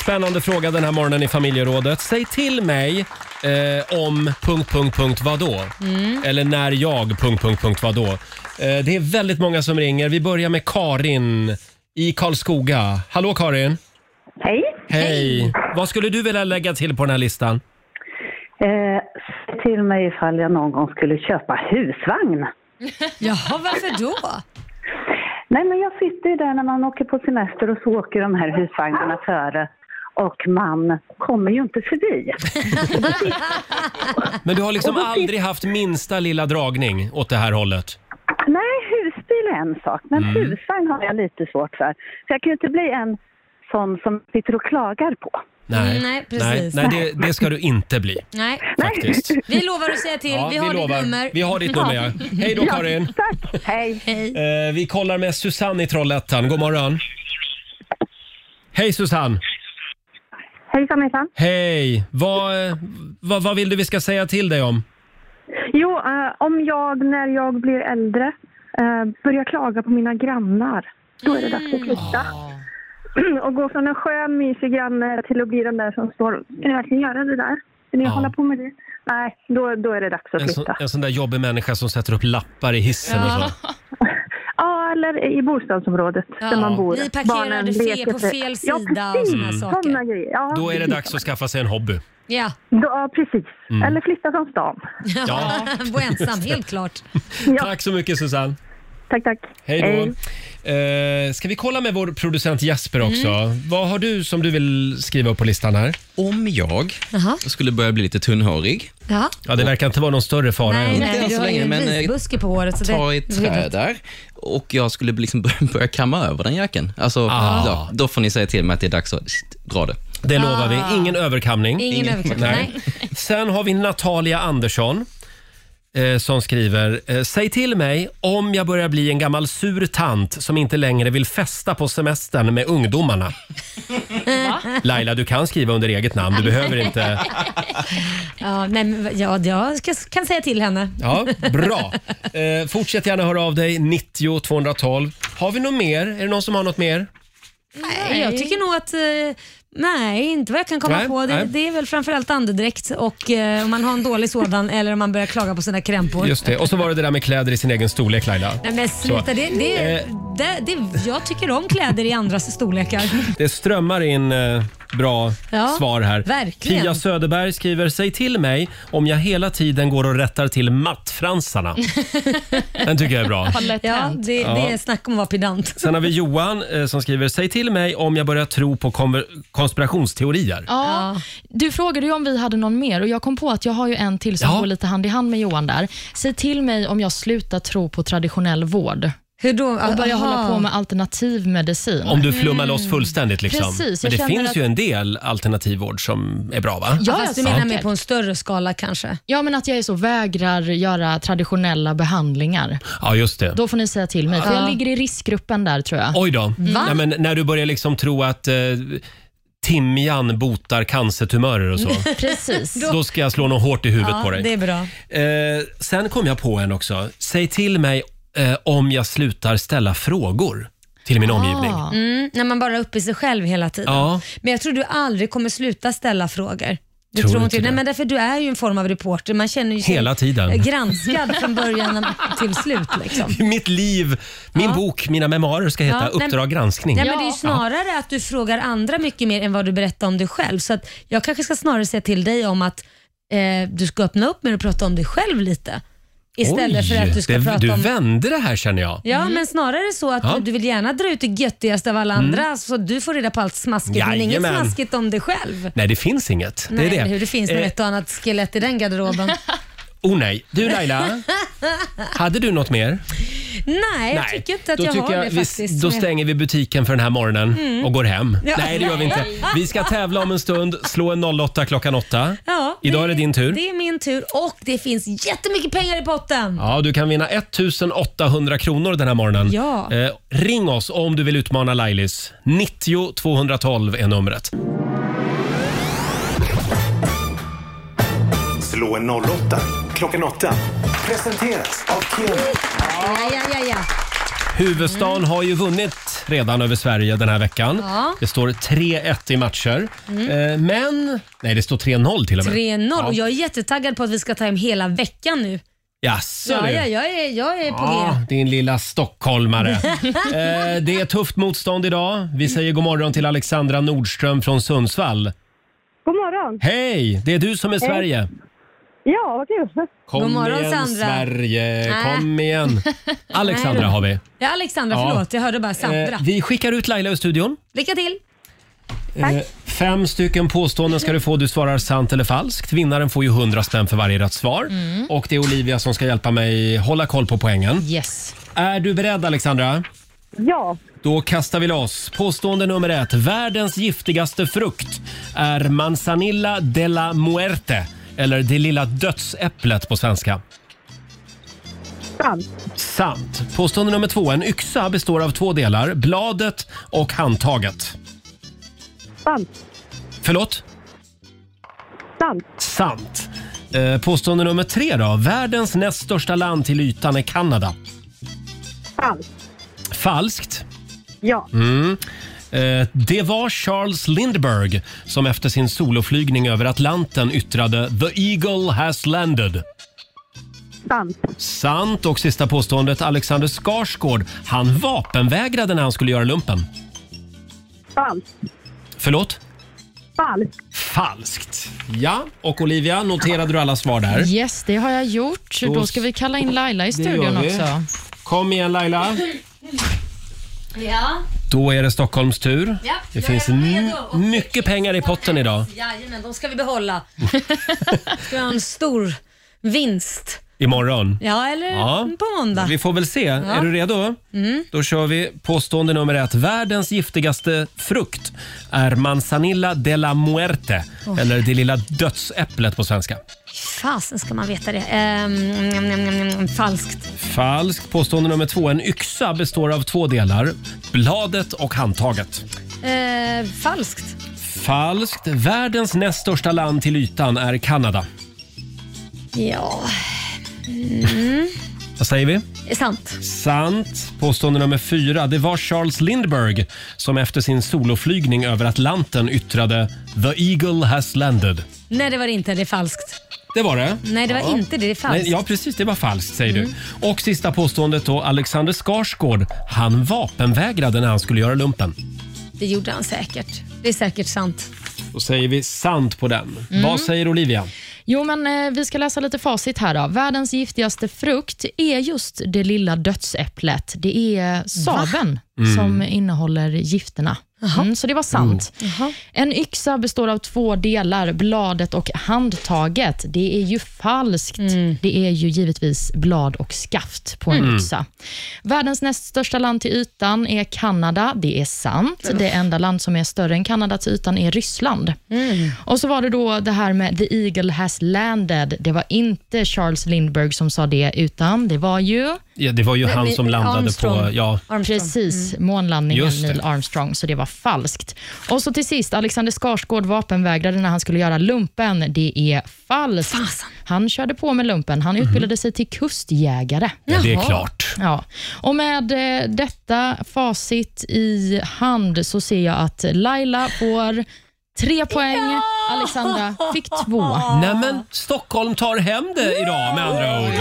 A: spännande fråga den här morgonen i familjerådet. Säg till mig eh, om... Punkt, punkt, punkt, vadå?
D: Mm.
A: Eller när jag... Punkt, punkt, punkt, vadå? Eh, det är väldigt många som ringer. Vi börjar med Karin i Karlskoga. Hallå Karin!
K: Hej.
A: Hej! Vad skulle du vilja lägga till på den här listan?
K: Eh, säg till mig ifall jag någon gång skulle köpa husvagn.
B: Jaha, varför då?
K: Nej, men jag sitter ju där när man åker på semester och så åker de här husvagnarna före och man kommer ju inte förbi.
A: Men du har liksom
K: Och då finns-
A: aldrig haft minsta lilla dragning åt det här hållet?
K: Nej, husbil är en sak, men
A: Mm.
K: husvagn har jag lite svårt för. För jag kan ju inte bli en sån som sitter och klagar på.
A: Nej,
B: Mm, nej, precis.
A: nej, nej det, det ska du inte bli.
B: Nej.
A: Faktiskt.
B: Vi lovar att säga till.
A: Ja,
B: vi har
A: vi
B: ditt
A: lovar.
B: nummer.
A: Vi har ditt nummer, ja. Hej då, Karin.
B: Tack. Hej. Hej.
A: Eh, vi kollar med Susanne i Trollhättan. God morgon. Hej Susanne!
L: Hejsan hejsan.
A: Hej! Vad, eh, vad, vad vill du vi ska säga till dig om?
L: Jo, eh, om jag när jag blir äldre eh, börjar klaga på mina grannar, då är det dags att
A: Mm.
L: flytta.
A: Ah.
L: Och gå från en skön, mysig granne till att bli den där som står Ska ni verkligen göra det där? Ska ni
A: Ja.
L: hålla på med det? Nej, då, då är det dags att
A: Ah. En sån,
L: flytta.
A: en sån där jobbig människa som sätter upp lappar i hissen och så.
L: Ja, eller i bostadsområdet där man bor.
B: Ni parkerade
L: Barnen
B: fel-
L: leker
B: på
L: sig-
B: fel sida
L: ja,
B: och
L: precis.
B: såna här saker.
L: Såna grejer. Ja,
A: Då är det
L: precis.
A: dags att skaffa sig en hobby.
B: Ja.
L: Ja, precis.
A: Mm.
L: Eller flytta från stan.
A: Ja.
B: Bo ensam, helt klart.
A: Tack så mycket Susanne.
L: Tack, tack.
A: Hej då. Eh, ska vi kolla med vår producent Jasper också? Vad har du som du vill skriva upp på listan här?
I: Om jag
B: Jaha.
I: skulle börja bli lite tunnhårig.
B: Ja.
A: Ja, det verkar inte vara någon större fara
B: Nej,
I: än.
B: nej,
I: Inte än
B: du
I: så
B: har ju
I: länge,
B: en
I: men, eh,
B: risbuske på håret. Så
I: ta
B: det,
I: i ett träd där och jag skulle liksom börja- börja kamma över den jacken. Alltså,
A: Ah.
I: ja, då får ni säga till mig att det är dags att shit, dra det.
A: Det lovar vi. Ingen överkamning.
B: Ingen Ingen. överkamning,
A: Sen har vi Natalia Andersson eh, som skriver eh, “Säg till mig om jag börjar bli en gammal sur tant som inte längre vill festa på semestern med ungdomarna”. Laila, du kan skriva under eget namn. Du behöver inte...
B: Ja, nej, men, ja, jag ska, kan säga till henne.
A: Ja, bra. Eh, fortsätt gärna höra av dig. 90 212. Har vi något mer? Är det någon som har något mer?
B: Nej. Jag tycker nog att eh, Nej, inte vad jag kan komma
A: Nej,
B: på. Det,
A: nej.
B: det är väl framförallt andedräkt och eh, om man har en dålig sådan eller om man börjar klaga på sina krämpor.
A: Just det. Och så var det det där med kläder i sin egen storlek, Laila.
B: Nej men
A: Så.
B: sluta, det, det,
A: Eh.
B: det, det, jag tycker om kläder i andras storlekar.
A: Det strömmar in eh, bra
B: Ja,
A: svar här.
B: verkligen.
A: Pia Söderberg skriver “Säg till mig om jag hela tiden går och rättar till mattfransarna”. Den tycker jag är bra.
B: Ja, det, det är
A: Ja.
B: snack om att vara pedant.
A: Sen har vi Johan eh, som skriver “Säg till mig om jag börjar tro på konver- konspirationsteorier”.
C: Ja. Du frågade ju om vi hade någon mer och jag kom på att jag har ju en till som går lite hand i hand med Johan där. Säg till mig om jag slutar tro på traditionell vård.
B: Hur då?
C: Och börjar
B: Aha.
C: hålla på med alternativ medicin.
A: Om du flummar loss fullständigt liksom.
C: Precis, jag
A: Men det
C: känner
A: finns
C: att-
A: ju en del alternativvård som är bra va?
C: Ja,
B: Fast du menar mer på en större skala kanske?
C: Ja, men att jag är så vägrar göra traditionella behandlingar.
A: Ja, just det.
C: Då får ni säga till mig, för
A: Ja.
C: jag ligger i riskgruppen där tror jag.
A: Oj då.
C: Va?
A: Nej, men när du börjar liksom tro att eh, timjan botar cancertumörer och så.
C: Precis.
A: Då ska jag slå något hårt i huvudet på dig.
B: det är bra.
C: Mm.
A: Eh, sen kom jag på en också. Säg till mig eh, om jag slutar ställa frågor till min omgivning.
C: Ah,
B: Mm, när man bara är uppe i sig själv hela tiden.
A: Ja.
B: Men jag tror du aldrig kommer sluta ställa frågor. Du
A: Tror
B: tror,
A: inte
B: inte
A: det.
B: Nej, men därför du är ju en form av reporter. Man känner ju sig
A: Hela tiden.
B: granskad från början till slut. Liksom.
A: Mitt liv, min bok, mina memoarer ska heta
B: Ja, nej,
A: Uppdrag granskning.
B: Nej, men det är ju
A: Ja.
B: snarare att du frågar andra mycket mer än vad du berättar om dig själv. Så att jag kanske ska snarare säga till dig om att eh, du ska öppna upp med att prata om dig själv lite. Istället
A: Oj,
B: för att du ska
A: det,
B: prata
A: Du
B: om...
A: vände det här känner jag.
B: Ja, men snarare så att
A: Ja.
B: du vill gärna dra ut det göttigaste av alla
A: Mm.
B: andra så du får reda på allt smaskigt, men inget
A: Jajamän.
B: smaskigt om dig själv.
A: Nej, det finns inget.
B: Nej,
A: det är
B: eller
A: det.
B: Hur det finns nog
A: Eh,
B: ett och annat skelett i den garderoben.
A: oh nej. Du Laila, hade du något mer?
B: Nej, jag tycker inte att
A: då
B: jag har
A: tycker
B: det
A: vi-
B: faktiskt.
A: Då
B: Men-
A: stänger vi butiken för den här morgonen
B: Mm.
A: och går hem.
B: Ja.
A: Nej, det gör vi inte. Vi ska tävla om en stund. Slå en 08 klockan 8.
B: Ja,
A: Idag är det din tur.
B: Det är min tur och det finns jättemycket pengar i potten.
A: Ja, du kan vinna 1800 kronor den här morgonen.
B: Ja.
A: Eh, ring oss om du vill utmana Lailis. 90 212 är numret.
J: Slå en 08 klockan 8. Presenteras av Kim.
B: Ja, ja, ja, ja.
A: Huvudstaden har ju vunnit redan över Sverige den här veckan.
B: Ja.
A: Det står 3-1 i matcher.
B: Mm.
A: Eh, men... Nej, det står 3-0 till och med.
B: 3-0
A: Ja.
B: och jag är jättetaggad på att vi ska ta hem hela veckan nu.
A: Jaså,
B: ja,
A: du.
B: ja, jag är, jag är på
A: Ja, din lilla stockholmare.
B: G.
A: eh, det är tufft motstånd idag. Vi säger god morgon till Alexandra Nordström från Sundsvall.
M: God morgon!
A: Hej! Det är du som är
M: Hej.
A: Sverige.
M: Ja, vad kul!
A: Kom
B: God morgon,
A: igen
B: Sandra.
A: Sverige,
B: Äh.
A: kom igen. Alexandra
B: Nej.
A: har vi.
B: Ja, Alexandra,
A: Ja.
B: förlåt. Jag hörde bara Sandra.
A: Eh, vi skickar ut Laila ur studion.
B: Lycka till!
A: Eh, fem stycken påståenden ska du få. Du svarar sant eller falskt. Vinnaren får ju 100 spänn för varje rätt svar.
C: Mm.
A: Och det är Olivia som ska hjälpa mig hålla koll på poängen.
C: Yes.
A: Är du beredd Alexandra?
M: Ja,
A: Då kastar vi loss. Påstående nummer ett. Världens giftigaste frukt är manzanilla de la muerte, eller det lilla dödsäpplet på svenska.
M: sant.
A: Sant. Påstående nummer två. En yxa består av två delar, bladet och handtaget.
M: Sant.
A: Förlåt?
M: Sant.
A: Sant. Eh, Påstående nummer tre då. Världens näst största land till ytan är Kanada.
M: Falskt.
A: Falskt.
M: Ja.
A: Mm. Eh, Det var Charles Lindbergh som efter sin soloflygning över Atlanten yttrade “The Eagle has landed”.
M: Sant.
A: Sant. Och sista påståendet, Alexander Skarsgård, han vapenvägrade när han skulle göra lumpen.
M: Falskt.
A: Förlåt?
M: Falskt.
A: Falskt. Ja, och Olivia, noterade du alla svar där?
C: Yes, det har jag gjort.
A: Då-
C: Då, ska vi kalla in Laila i
A: Det gör
C: studion
A: vi.
C: också.
A: Kom igen Laila.
B: Ja.
A: Då är det Stockholms tur.
B: Ja,
A: det
B: jag
A: finns
B: är redo.
A: m- mycket pengar i potten idag.
B: Jajamän, de ska vi behålla. ska vi ha en stor vinst.
A: Imorgon.
B: Ja, eller
A: Ja.
B: på måndag.
A: Vi får väl se. Är du redo?
B: Mm.
A: Då kör vi påstående nummer ett. Världens giftigaste frukt är manzanilla de la muerte,
B: Oj.
A: eller det lilla dödsäpplet på svenska.
B: Fasen ska man veta det. Ehm, mm, mm, mm, mm, falskt.
A: Falskt. Påstående nummer två. En yxa består av två delar, bladet och handtaget.
B: Ehm, falskt.
A: Falskt. Världens näst största land till ytan är Kanada.
B: Ja. Mm.
A: Vad säger vi?
B: Är sant.
A: Sant. Påstående nummer fyra. Det var Charles Lindbergh som efter sin soloflygning över Atlanten yttrade “The Eagle has landed”.
B: Nej, det var det inte. Det är falskt.
A: Det var det.
B: Nej, det var inte det. Det är falskt.
A: Nej, ja, precis. Det var falskt, säger du. Och sista påståendet då. Alexander Skarsgård, han vapenvägrade när han skulle göra lumpen.
B: Det gjorde han säkert. Det är säkert sant.
A: Då säger vi sant på den.
C: Mm.
A: Vad säger Olivia?
C: Jo, men eh, vi ska läsa lite facit här då. Världens giftigaste frukt är just det lilla dödsäpplet. Det är saven
H: Mm.
C: som innehåller gifterna. Mm, så det var sant. En yxa består av två delar, bladet och handtaget. Det är ju falskt. Det är ju givetvis blad och skaft på en
H: Mm.
C: yxa. Världens näst största land till ytan är Kanada. Det är sant. Det enda land som är större än Kanada till ytan är Ryssland. Och så var det då det här med “The Eagle has landed”. Det var inte Charles Lindbergh som sa det, utan det var ju...
A: Ja, det var ju han som landade på... Ja.
C: Precis, månlandningen,
A: Just det.
C: Neil Armstrong, så det var falskt. Och så till sist, Alexander Skarsgård vapenvägrade när han skulle göra lumpen. Det är falskt. Han körde på med lumpen. Han utbildade sig till kustjägare.
A: Mhm. Ja, det är Jaha. klart.
C: Ja. Och med eh, detta facit i hand så ser jag att Laila får tre poäng. Alexandra fick två.
A: Nej, men Stockholm tar hem det idag med andra ord.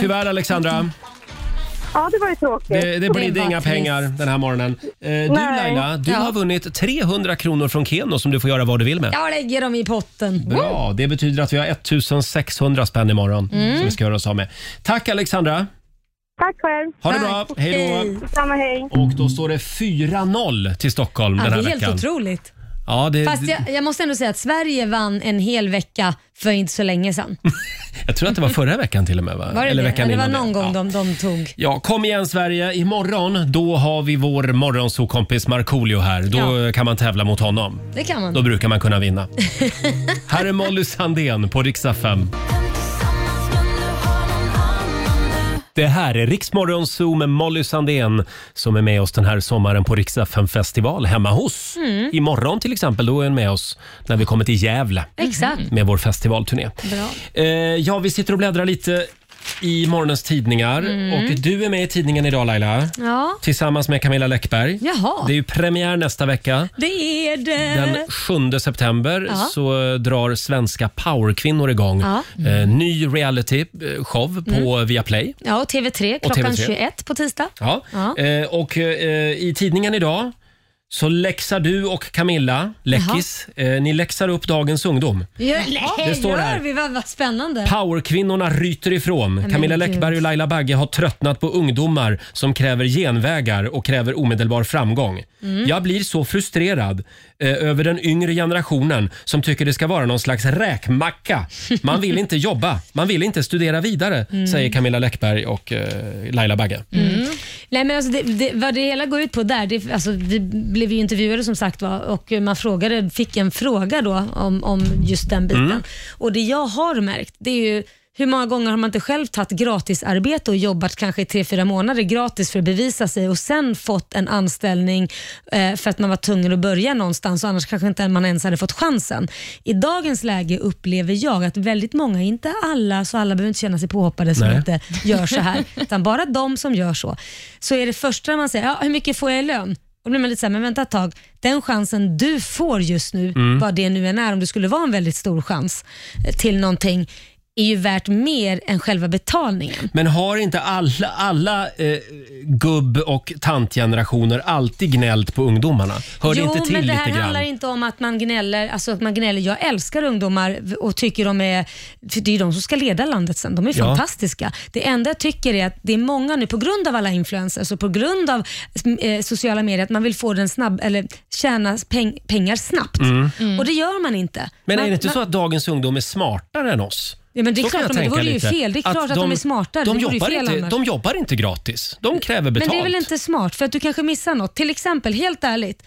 A: Tyvärr Alexandra,
M: Ja, det var ju tråkigt.
A: det, det blir inga pengar den här morgonen. Eh, Du
M: Nej.
A: Laila, du
M: Ja.
A: har vunnit 300 kronor från Keno som du får göra vad du vill med.
B: Jag lägger dem i potten.
A: Bra, det betyder att vi har 1600 spänn imorgon
B: Mm.
A: som vi ska göra oss av med. Tack Alexandra!
M: Tack själv.
A: Ha det bra. Tack. Hej då. Hej.
M: Detsamma, hej.
A: Och då står det 4-0 till Stockholm
B: Ja, det
A: den här
B: är
A: veckan.
B: helt otroligt.
A: Ja, det,
B: Fast jag, jag måste ändå säga att Sverige vann en hel vecka för inte så länge sedan.
A: jag tror att det var förra veckan till och med. Va?
B: Var det
A: Eller
B: det?
A: veckan
B: Ja, det var
A: innan det.
B: någon gång de, de tog.
A: Ja, kom igen Sverige. Imorgon då har vi vår morgonsokompis Markoolio här. Då kan man tävla mot honom.
B: Det kan man.
A: Då brukar man kunna vinna.
B: Mm.
A: här är Molly Sandén på riksdag 5. Det här är Riksmorgon Zoo med Molly Sandén som är med oss den här sommaren på riksdag 5 festival hemma hos.
B: Mm.
A: Imorgon till exempel, då är hon med oss när vi kommer till Gävle
B: Exakt.
A: med vår festivalturné.
B: Bra.
A: Eh, ja, vi sitter och bläddrar lite i morgonens tidningar
B: Mm.
A: och du är med i tidningen idag Laila.
B: Ja.
A: Tillsammans med Camilla Läckberg.
B: Jaha.
A: Det är ju premiär nästa vecka.
B: Det är det.
A: Den 7 september
B: Ja.
A: så eh, drar svenska powerkvinnor igång
B: Ja. Mm.
A: eh, ny reality-show på Viaplay.
B: Ja, och TV3
A: Och
B: klockan
A: TV3.
B: 21 på tisdag.
A: Ja.
B: Ja.
A: Eh, och eh, i tidningen idag så läxar du och Camilla, Läckis, eh, ni läxar upp dagens ungdom.
B: Ja,
A: Det står
B: gör
A: här.
B: vi? Vad, vad spännande.
A: Powerkvinnorna ryter ifrån.
B: Men
A: Camilla
B: gud.
A: Läckberg och Laila Bagge har tröttnat på ungdomar som kräver genvägar och kräver omedelbar framgång.
N: Mm.
A: Jag blir så frustrerad eh, över den yngre generationen som tycker det ska vara någon slags räkmacka. Man vill inte jobba, man vill inte studera vidare,
B: Mm.
A: säger Camilla Läckberg och eh, Laila Bagge.
B: Nej, men alltså det, det, vad det hela går ut på där, det, alltså vi blev ju intervjuade som sagt var och man frågade, fick en fråga då om, om just den biten.
O: Mm.
B: Och det jag har märkt, det är ju hur många gånger har man inte själv tagit gratisarbete och jobbat kanske i tre, fyra månader gratis för att bevisa sig och sen fått en anställning eh, för att man var tvungen att börja någonstans och annars kanske inte man ens hade fått chansen. I dagens läge upplever jag att väldigt många, inte alla, så alla behöver inte känna sig påhoppade som
O: Nej.
B: inte gör så här, utan bara de som gör så. Så är det första man säger, ja, hur mycket får jag i lön? Då blir man lite såhär, men vänta ett tag. Den chansen du får just nu,
O: Mm.
B: vad det nu än är, om det skulle vara en väldigt stor chans eh, till någonting, är ju värt mer än själva betalningen.
A: Men har inte alla, alla eh, gubb och tantgenerationer alltid gnällt på ungdomarna? Hör det
B: jo,
A: inte till
B: men det här
A: lite grann?
B: handlar inte om att man gnäller. Alltså att man gnäller. Jag älskar ungdomar och tycker de är... För det är ju de som ska leda landet sen. De är
O: Ja.
B: fantastiska. Det enda jag tycker är att det är många nu, på grund av alla influencers och på grund av eh, sociala medier, att man vill få den snabb, eller tjäna peng, pengar snabbt.
A: Mm.
B: Och det gör man inte.
A: Men
B: man,
A: är det inte
B: man,
A: så att dagens ungdom är smartare än oss?
B: Ja, men det är
A: Så kan
B: klart
A: jag
B: de är. Det
A: tänka
B: vore ju
A: lite.
B: fel. Det är klart att de är smartare.
A: De
B: Det vore ju
A: jobbar,
B: fel
A: inte,
B: annars.
A: de jobbar inte gratis. De kräver
B: Men
A: betalt.
B: det är väl inte smart för att du kanske missar något. Till exempel, helt ärligt,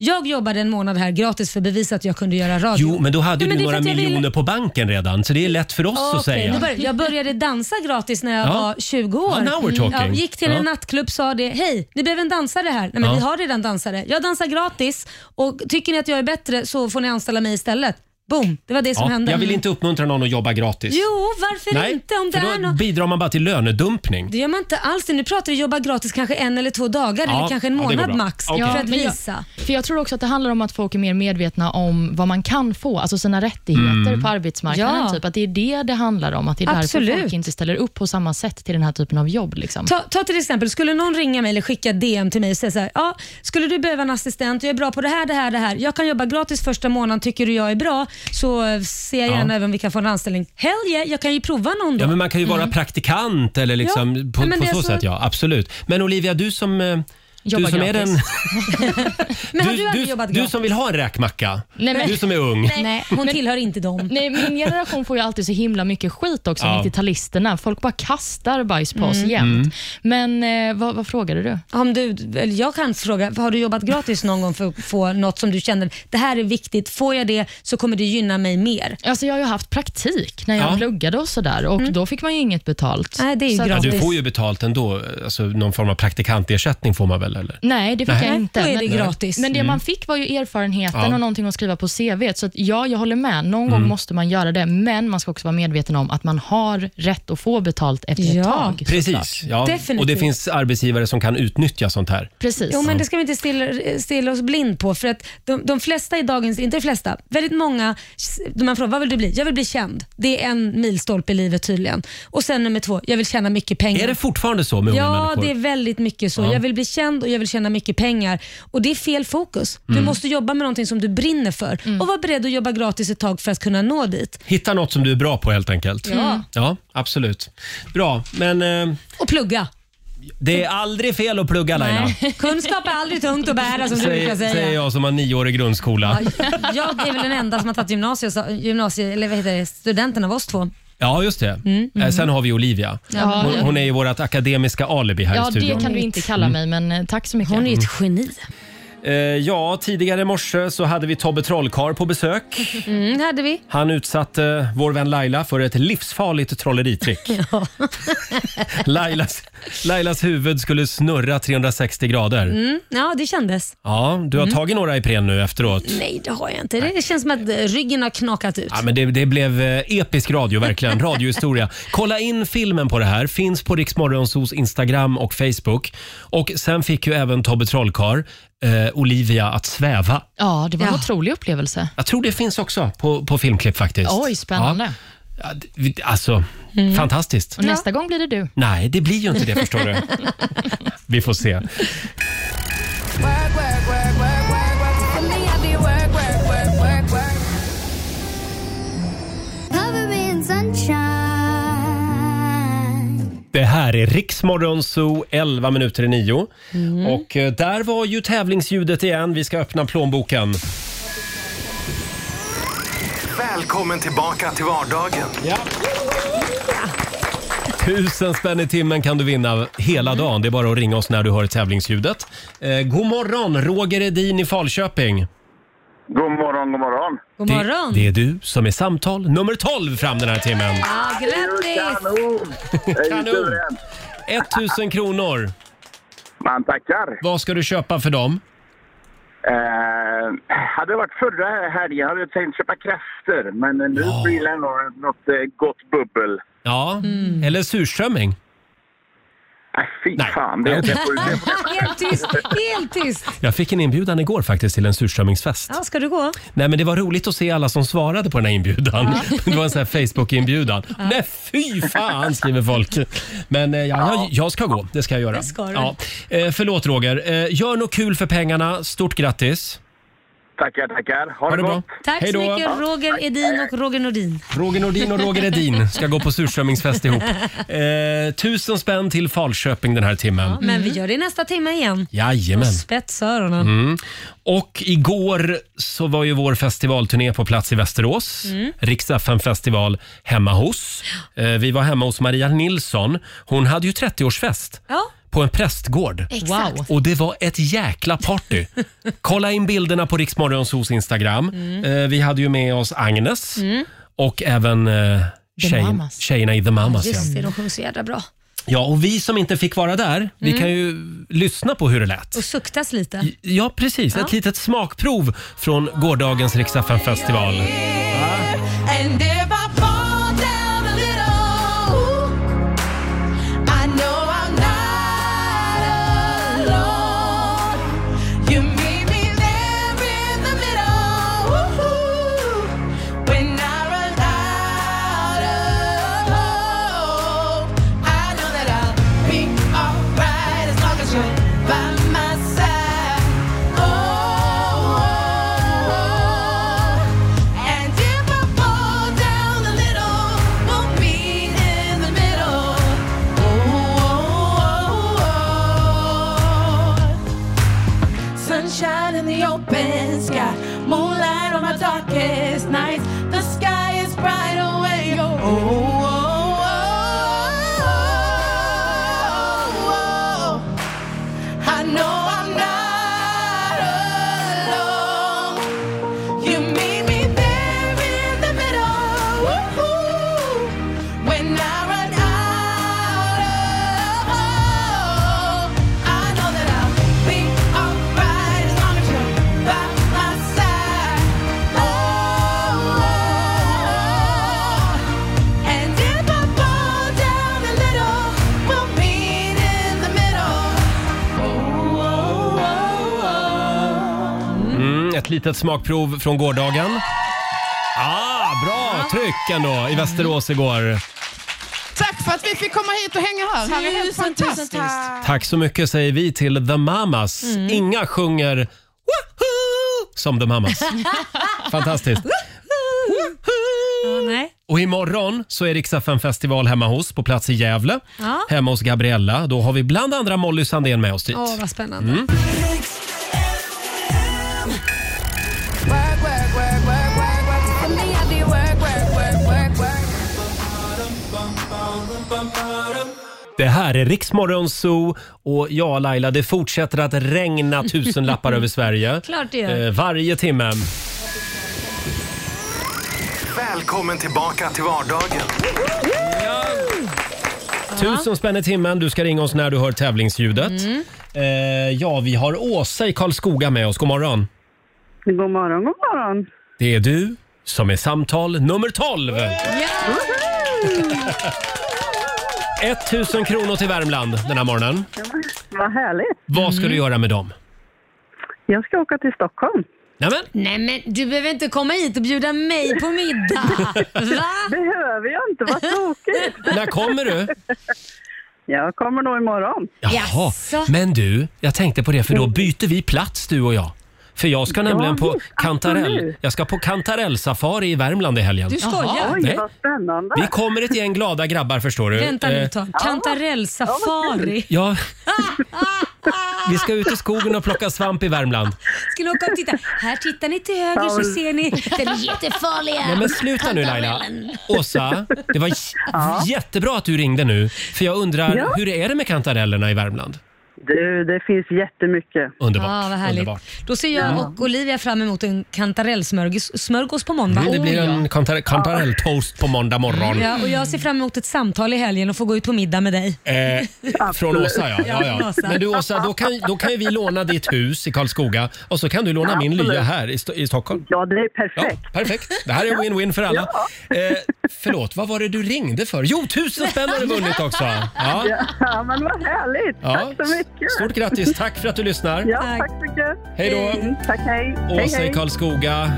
B: jag jobbade en månad här gratis för att bevisa att jag kunde göra radio.
A: Jo, men då hade
B: Nej, men
A: du
B: det är för
A: några
B: att jag ville-
A: miljoner på banken redan, så det är lätt för oss
B: Okej,
A: att säga.
B: nu började, jag började dansa gratis när jag
A: Ja.
B: var 20 år.
A: Ja, now we're
B: Mm.
A: talking.
B: gick till en
A: Ja.
B: nattklubb sa det, hej, ni behöver en dansare här. Nej, men
A: Ja.
B: vi har redan dansare. Jag dansar gratis och tycker ni att jag är bättre så får ni anställa mig istället. Boom, det var det som
A: Ja,
B: hände.
A: Jag vill inte uppmuntra någon att jobba gratis.
B: Jo, varför
A: Nej,
B: inte? Om det
A: för
B: är
A: då
B: något...
A: bidrar man bara till lönedumpning.
B: Det gör man inte alls. Nu pratar vi jobba gratis kanske en eller två dagar
A: Ja,
B: eller kanske en
A: ja, det går
B: månad
A: bra.
B: max
A: Okej.
B: för
A: Ja,
B: att
A: men
C: jag-
B: visa.
C: För Jag tror också att det handlar om att folk är mer medvetna om vad man kan få, alltså sina rättigheter
B: Mm.
C: på arbetsmarknaden.
B: Ja.
C: Typ. Att Det är det det handlar om, att det är
B: Absolut.
C: därför folk inte ställer upp på samma sätt till den här typen av jobb. Liksom.
B: Ta, ta till exempel, skulle någon ringa mig eller skicka DM till mig och säga så här, ja, skulle du behöva en assistent, jag är bra på det här, det här, det här. Jag kan jobba gratis första månaden, tycker du jag är bra så eh, ser jag
A: Ja.
B: gärna även om vi kan få en anställning. Hell yeah, jag kan ju prova någon då.
A: Ja, men man kan ju vara
B: Mm.
A: praktikant eller liksom
B: Ja,
A: på,
B: men
A: på
B: det är
A: så,
B: så-
A: sätt. Ja, absolut. Men Olivia, du som, eh, du
C: Jobbar
A: som är den...
C: gratis.
B: Men har du,
A: Du,
B: aldrig jobbat
A: du
B: gratis?
A: som vill ha en räkmacka.
C: Nej, men-
A: Du som är ung.
B: Nej, hon tillhör inte dem.
C: Nej, min generation får ju alltid så himla mycket skit också,
A: Ja.
C: 90-talisterna. Folk bara kastar bajs på oss
B: Mm.
C: jämt. Men eh, vad, vad frågade du?
B: Om du, eller jag kan fråga, har du jobbat gratis någon gång för att få något som du känner, det här är viktigt, får jag det så kommer det gynna mig mer?
C: Alltså jag har ju haft praktik när jag
A: Ja.
C: pluggade och sådär och då fick man ju inget betalt.
B: Mm. Nej, det är ju
C: Så att-
A: Ja, du får ju betalt ändå. Alltså, någon form av praktikantersättning får man väl? Eller?
C: Nej, det fick
A: Nej.
C: jag inte.
A: Då är det
C: Men-
A: gratis.
C: Men det
A: Mm.
C: man fick var ju erfarenheten
A: Ja.
C: och någonting att skriva på CV. Så att, ja, jag håller med. Någon
A: Mm.
C: gång måste man göra det, men man ska också vara medveten om att man har rätt att få betalt efter ett tag.
A: Precis.
C: såklart.
A: Ja. Och det finns arbetsgivare som kan utnyttja sånt här.
C: Precis.
B: Jo, men det ska vi inte stirra, stirra oss blind på. För att de, de flesta i dagens, inte de flesta, väldigt många, när man frågar vad vill du bli? Jag vill bli känd. Det är en milstolpe i livet tydligen. Och sen nummer två, jag vill tjäna mycket pengar.
A: Är det fortfarande så med unga
B: Ja,
A: människor?
B: det är väldigt mycket så.
A: Ja.
B: Jag vill bli känd och jag vill tjäna mycket pengar. Och Det är fel fokus. Du
A: Mm.
B: måste jobba med någonting som du brinner för och vara beredd att jobba gratis ett tag för att kunna nå dit.
A: Hitta något som du är bra på helt enkelt.
B: Ja. Mm.
A: ja absolut. Bra, men eh,
B: Och plugga.
A: det är aldrig fel att plugga Laila.
B: Nej. Kunskap är aldrig tungt att bära som du brukar
A: Säger,
B: säga.
A: säger jag som har nio år i grundskola.
B: Ja, jag är väl den enda som har tagit gymnasiet, gymnasie, eller vad heter det, studenten av oss två.
A: Ja, just det.
B: Mm.
A: Eh, Sen har vi Olivia.
C: Ja.
A: Hon, hon är ju vårt akademiska alibi här
C: Ja,
A: i studion.
C: det kan du inte kalla mig, men eh, tack så mycket.
B: Hon är
A: ett
B: geni.
A: Eh, ja, tidigare i morse så hade vi Tobbe Trollkarl på besök.
B: Mm, det hade vi.
A: Han utsatte vår vän Laila för ett livsfarligt trolleritrick. Lailas, Lailas huvud skulle snurra 360 grader.
B: Mm, ja, det kändes.
A: Ja, du har
B: Mm.
A: tagit några Ipren nu efteråt.
B: Nej, det har jag inte. Det känns som att eh, ryggen har knakat ut.
A: Ja, men det, det blev eh, episk radio, verkligen. Radiohistoria. Kolla in filmen på det här. Finns på Riksmorgonsos Instagram och Facebook. Och Sen fick ju även Tobbe Trollkarl eh, Olivia att sväva.
C: Ja, det var en
A: Ja.
C: otrolig upplevelse.
A: Jag tror det finns också på, på filmklipp faktiskt.
C: Oj, spännande.
A: Ja. Ja, d- vi- Alltså, fantastiskt.
C: Och nästa gång blir det du.
A: Nej, det blir ju inte det förstår du. Vi får se.
H: Work, work, work, work,
A: Det här är Riksmorgon Zoo, 11 minuter i nio.
D: Mm.
A: Och eh, där var ju tävlingsljudet igen. Vi ska öppna plånboken.
J: Välkommen tillbaka till vardagen.
A: Tusen spänn i timmen kan du vinna hela dagen. Det är bara att ringa oss när du hör tävlingsljudet. Eh, god morgon, Roger Edin i Falköping.
N: God morgon, god morgon.
B: God morgon.
A: Det, det är du som är samtal nummer 12 fram den här timmen.
B: Ja, grattis!
A: Kanon! 1000 kronor.
N: Man tackar.
A: Vad ska du köpa för dem?
N: Eh, hade det varit förra helgen hade jag tänkt köpa kräftor, men nu blir det nog något eh, gott bubbel.
A: Ja, eller surströmming.
N: Äh, Fy fan, det,
A: Ja,
N: det,
A: okej.
N: får, det,
B: Helt tyst, helt tyst.
A: Jag fick en inbjudan igår faktiskt till en surströmmingsfest.
B: Ja, ska du gå?
A: Nej, men det var roligt att se alla som svarade på den här inbjudan. Det var en sån här Facebook-inbjudan. Nej, fy fan skriver folk. Men eh, ja, jag, jag ska gå. Det ska jag göra.
D: Det ska du.
A: Ja. Eh, förlåt Roger. Eh, gör något kul för pengarna. Stort grattis.
N: tackar, tackar. Ha,
A: Ha
N: det
A: det
N: gott.
A: bra.
B: Tack
A: Hej
B: så
A: då.
B: mycket Roger Edin och Roger Nordin.
A: Roger Nordin och Roger Edin ska gå på surströmmingsfest ihop. Eh, tusen spänn till Falköping den här timmen.
B: Men vi gör det i nästa timme igen.
A: Jajamän.
B: Och spetsa öronen.
A: Mm. Och igår så var ju vår festivalturné på plats i Västerås.
B: Mm.
A: Rix FM festival hemma hos. Eh, Vi var hemma hos Maria Nilsson. Hon hade ju 30-årsfest
B: Ja.
A: på en prästgård.
B: Exakt. Wow.
A: Och det var ett jäkla party. Kolla in bilderna på Rix Morgonzoos Instagram.
D: Mm.
A: Eh, Vi hade ju med oss Agnes
B: Mm.
A: och även eh,
B: The
A: tjej,
B: Mamas.
A: tjejerna i The Mamas.
B: Just det,
A: ja.
B: de sjöng så jädra bra.
A: ja, och vi som inte fick vara där, vi
B: Mm.
A: kan ju lyssna på hur det lät.
B: Och suktas lite.
A: Ja, precis.
B: Ja.
A: Ett litet smakprov från gårdagens Rix FM festival
D: And if I fall down a little, I know I'm not alone. You meet me there in the middle. When I run out of hope, I know that I'll be alright as long as you're by my side. oh. And if I fall down a little, we'll meet in the middle. Oh, oh, oh, oh. Sunshine in the open sky, moonlight on my darkest nights. The sky is bright away. Oh, oh, oh, oh, oh. I know I'm not alone. You meet me there in the middle. Woo-hoo. When I run out of hope, I know that I'll be alright as long as you're by my side. Oh, oh, oh. and if I fall down a little, we'll meet in the middle. Oh, oh, oh, oh.
A: Mm, ett litet smakprov från gårdagen. Ah, bra tryck ändå i Västerås igår.
O: Tack för att vi fick komma hit och hänga här. Det här var helt
B: Tusen, tusen
O: fantastiskt.
A: Tack så mycket säger vi till The Mamas.
O: Mm.
A: Inga sjunger Woohoo! som The Mamas. Fantastiskt.
B: Ja, nej.
A: Och imorgon så är Rix FM festival hemma hos på plats i Gävle.
B: Ja.
A: Hemma hos Gabriella. Då har vi bland andra Molly Sandén med oss dit.
B: Åh, vad spännande.
A: Mm.
H: Work, work, work, work, work, work. For me, I do work, work, work, work, work.
A: Det här är Riksmorgon Zoo och ja, Laila, det fortsätter att regna tusenlappar över Sverige.
B: Klart det gör.
A: Eh, varje timme.
J: Välkommen tillbaka till vardagen.
A: Tusen spänn i timmen. Du ska ringa oss när du hör tävlingsljudet.
B: Mm.
A: Eh, ja, vi har Åsa i Karlskoga med oss. God morgon.
P: God morgon, god morgon.
A: Det är du som är samtal nummer 12. 1000 kronor till Värmland den här morgonen.
P: Vad härligt.
A: Vad
B: Mm.
A: ska du göra med dem?
P: Jag ska åka till Stockholm.
A: Nämen,
B: Nej men du behöver inte komma hit och bjuda mig på middag. Va?
P: Behöver jag inte, vad tokigt.
A: När kommer du?
P: Jag kommer nog imorgon. Mm.
A: Jaha, men du, jag tänkte på det för då byter vi plats du och jag. För jag ska nämligen på
P: visst,
A: kantarell.
P: absolut.
A: Jag ska på kantarellsafari i Värmland i helgen.
P: Oj,
A: Nej.
P: vad spännande.
A: Vi kommer ett gäng glada grabbar förstår du.
B: Vänta nu
A: Eh,
B: ett tag. Kantarellsafari.
A: Ja. Vi ska ut i skogen och plocka svamp i Värmland.
B: Ska ni åka och titta? Här tittar ni till höger så ser ni. Den är jättefarliga.
A: Nej men sluta nu Laila.
B: Kantarellen.
A: Åsa, det var j- jättebra att du ringde nu. För jag undrar,
P: Ja.
A: hur är det med kantarellerna i Värmland?
P: Du, det finns jättemycket.
A: Underbart.
B: Ah, vad härligt.
A: underbart.
B: Då ser jag och Olivia fram emot en kantarellsmörgås smörgås på måndag.
A: Mm, det blir en kantar- kantarelltoast på måndag morgon.
B: Ja, och jag ser fram emot ett samtal i helgen och få gå ut på middag med dig.
A: Eh, från
B: Absolut.
A: Åsa ja. ja,
B: Ja,
A: ja.
B: Åsa.
A: Men du Åsa, då kan, då kan ju vi låna ditt hus i Karlskoga och så kan du låna min
P: Absolut.
A: lya här i, Sto- i Stockholm.
P: Ja, det är perfekt.
A: Ja, perfekt. Det här är win-win för alla. Eh, förlåt, vad var det du ringde för? Jo, tusen spänn har du vunnit också! Ja.
P: Ja, men vad härligt.
A: Ja.
P: Tack så mycket.
A: Stort grattis, tack för att du lyssnar.
P: Ja, tack så mycket.
A: Hej då.
P: Mm, Tack, hej. Hej,
A: Åsa i
P: hej.
A: Karlskoga.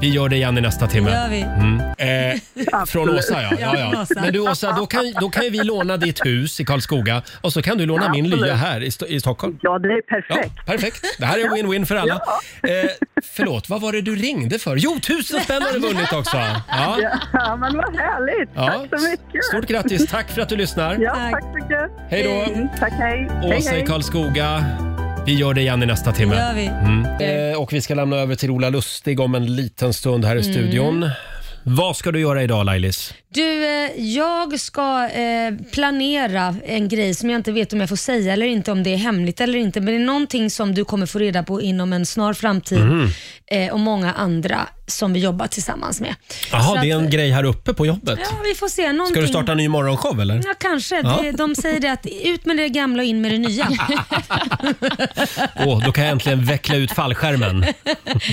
A: Vi gör det igen i nästa timme.
P: Det gör vi.
A: Mm. Eh, från Åsa ja. ja,
P: Ja, från
A: ja.
P: Åsa.
A: Men du Åsa, då kan, då kan ju vi låna ditt hus i Karlskoga och så kan du låna
P: Ja,
A: min
P: absolut.
A: lya här i, Sto- i Stockholm.
P: Ja, det är perfekt.
A: Ja, perfekt. Det här är win-win för alla. Eh, förlåt, vad var det du ringde för? Jo, tusen spänn har du vunnit också! Ja.
P: Ja, men vad härligt.
A: Ja.
P: Tack så mycket.
A: Stort grattis, tack för att du lyssnar.
P: Ja, tack så mycket.
A: Hej då.
P: Mm, Tack, hej. Hej,
A: Åsa i
P: hej.
A: Karlskoga. Vi gör det igen i nästa timme.
P: Det gör vi.
A: Mm. Eh, och vi ska lämna över till Ola Lustig om en liten stund här i
B: Mm.
A: studion. Vad ska du göra idag Lailis?
B: Du, eh, jag ska eh, planera en grej som jag inte vet om jag får säga eller inte, om det är hemligt eller inte. Men det är någonting som du kommer få reda på inom en snar framtid
A: Mm.
B: eh, och många andra som vi jobbar tillsammans med. Så
A: Jaha, det är
B: att-
A: en grej här uppe på jobbet.
B: Ja, vi får se. Någonting...
A: Ska du starta en ny morgonshow eller?
B: Ja, kanske.
A: Ja.
B: Det, de säger det att ut med det gamla och in med det nya.
A: Åh, då kan jag äntligen veckla ut fallskärmen.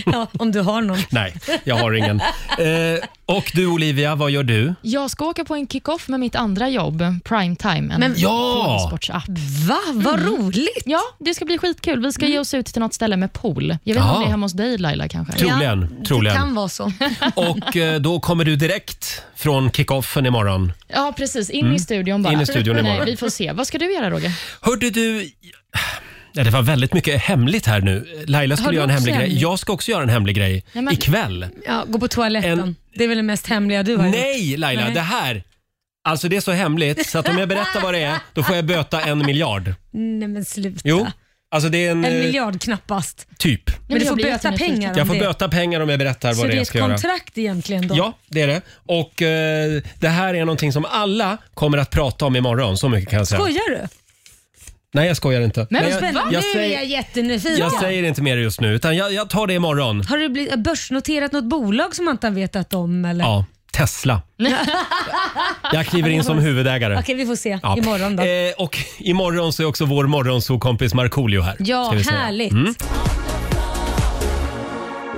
B: ja, om du har någon.
A: Nej, jag har ingen. Eh, och du Olivia, vad gör du?
C: Jag ska åka på en kick-off med mitt andra jobb, Primetime, en Ah,
A: Men- Ja!
C: frågesportsapp.
B: Va? Vad
A: Mm.
B: roligt!
C: Ja, det ska bli skitkul. Vi ska ge oss ut till något ställe med pool. Jag vet inte
A: Ja.
C: om det är hemma hos dig Laila kanske?
A: Troligen, Ja, troligen. det kan
B: vara så.
A: Och eh, då kommer du direkt från kickoffen imorgon.
C: ja, precis. In
A: Mm.
C: i studion bara.
A: In i studion
C: Nej,
A: imorgon.
C: Vi får se. Vad ska du göra Roger?
A: Hörde du... Ja, det var väldigt mycket hemligt här nu. Laila
B: Har
A: skulle
B: du
A: göra en
B: också
A: hemlig grej.
B: hemligt?
A: Jag ska också göra en hemlig grej
B: Nej, men-
A: ikväll.
B: Ja, gå på toaletten. Det är väl det mest hemliga du har
A: Nej
B: gjort?
A: Laila,
B: Nej.
A: det här... Alltså det är så hemligt så att om jag berättar vad det är, då får jag böta en miljard.
B: Nej men sluta.
A: Jo, alltså det är en...
B: En
A: eh,
B: miljard knappast.
A: Typ.
B: Men du
C: jag
B: får
C: blir
B: böta
C: jättenyfiken.
B: pengar om
A: Jag får
B: det.
A: böta pengar om jag berättar
B: Så
A: vad
B: det
A: det är
B: är
A: jag
B: ett
A: ska göra.
B: kontrakt egentligen då?
A: Ja, det är det. Och eh, det här är någonting som alla kommer att prata om imorgon, så mycket kan jag säga.
B: Skojar du?
A: Nej, jag skojar inte. Nej,
B: Men vad
A: jag,
B: spännande.
A: jag,
B: nu är
A: säger,
B: jag jättenyfiken.
A: jag säger inte mer just nu, utan jag, jag tar det imorgon.
B: Har du blivit börsnoterat något bolag som man inte har vetat om? Eller?
A: Ja, Tesla. Jag kliver in som huvudägare.
B: Okej, vi får se
A: Ja.
B: imorgon då.
A: Eh, och imorgon så är också vår morgonsokompis Markoolio här.
B: Ja,
A: ska vi säga.
B: härligt.
A: Mm.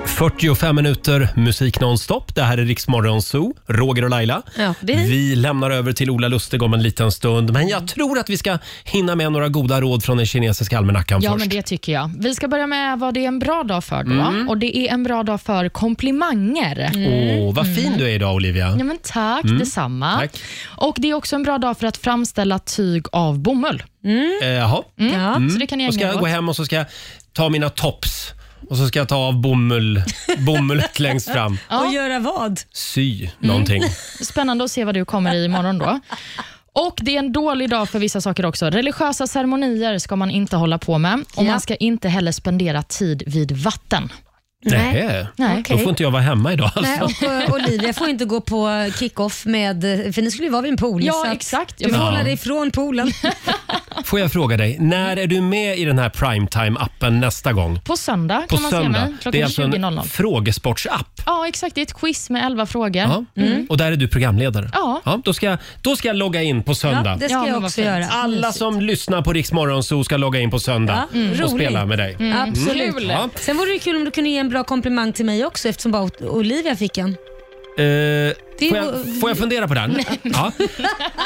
A: 45 minuter musik nonstop. Det här är Riksmorgon Zoo, Roger och Laila.
B: Ja, det är vi.
A: Vi lämnar över till Ola Lustig om en liten stund. Men jag tror att vi ska hinna med några goda råd från den kinesiska almanackan
C: Ja,
A: först.
C: men det tycker jag. Vi ska börja med vad det är en bra dag för. Då.
A: Mm.
C: Och Det är en bra dag för komplimanger.
A: Åh, vad
B: Mm.
A: fin du är idag Olivia.
C: Ja, men tack,
A: Mm.
C: detsamma.
A: Tack.
C: Och Det är också en bra dag för att framställa tyg av bomull.
A: Eh, Jaha.
C: Mm. Ja. Så det kan ni
A: Då ska
C: ägna
A: jag
C: er
A: gå
C: åt.
A: hem och så ska jag ta mina tops och så ska jag ta av bomull, bomullet längst fram.
B: Och göra vad?
A: Sy någonting.
C: Spännande att se vad du kommer i imorgon då. Och Det är en dålig dag för vissa saker också. Religiösa ceremonier ska man inte hålla på med och man ska inte heller spendera tid vid vatten.
A: Nej.
C: Nej.
A: Då får inte jag vara hemma idag
B: Nej,
A: alltså.
B: och eh, Olivia får inte gå på kick-off med, för ni skulle ju vara vid en pool.
C: Ja,
B: så att
C: exakt.
B: Du får
A: Ja.
B: hålla dig ifrån poolen.
A: Får jag fråga dig, när är du med i den här primetime-appen nästa gång?
C: På söndag kan
A: På
C: man se
A: söndag.
C: mig klockan
A: det är alltså
C: 20.00.
A: en frågesportsapp.
C: Ja, exakt. Det är ett quiz med 11 frågor.
A: Ja.
C: Mm.
A: Och där är du programledare.
C: Ja.
A: då, ska jag, då ska jag logga in på söndag.
B: Ja, det ska
C: Ja, men
B: jag
C: vad
B: också
C: fint.
B: göra.
A: Alla som lyssnar på Rix Morgonzoo ska logga in på söndag
B: Ja, mm.
A: och
B: Roligt.
A: spela med dig.
B: Mm. Absolut.
A: Mm. Ja.
B: Sen vore det kul om du kunde ge en bra komplimang till mig också eftersom bara Olivia fick en.
A: Eh,
B: Det är
A: får,
B: ju-
A: jag, får jag fundera på den?
B: Nej.
A: Ja.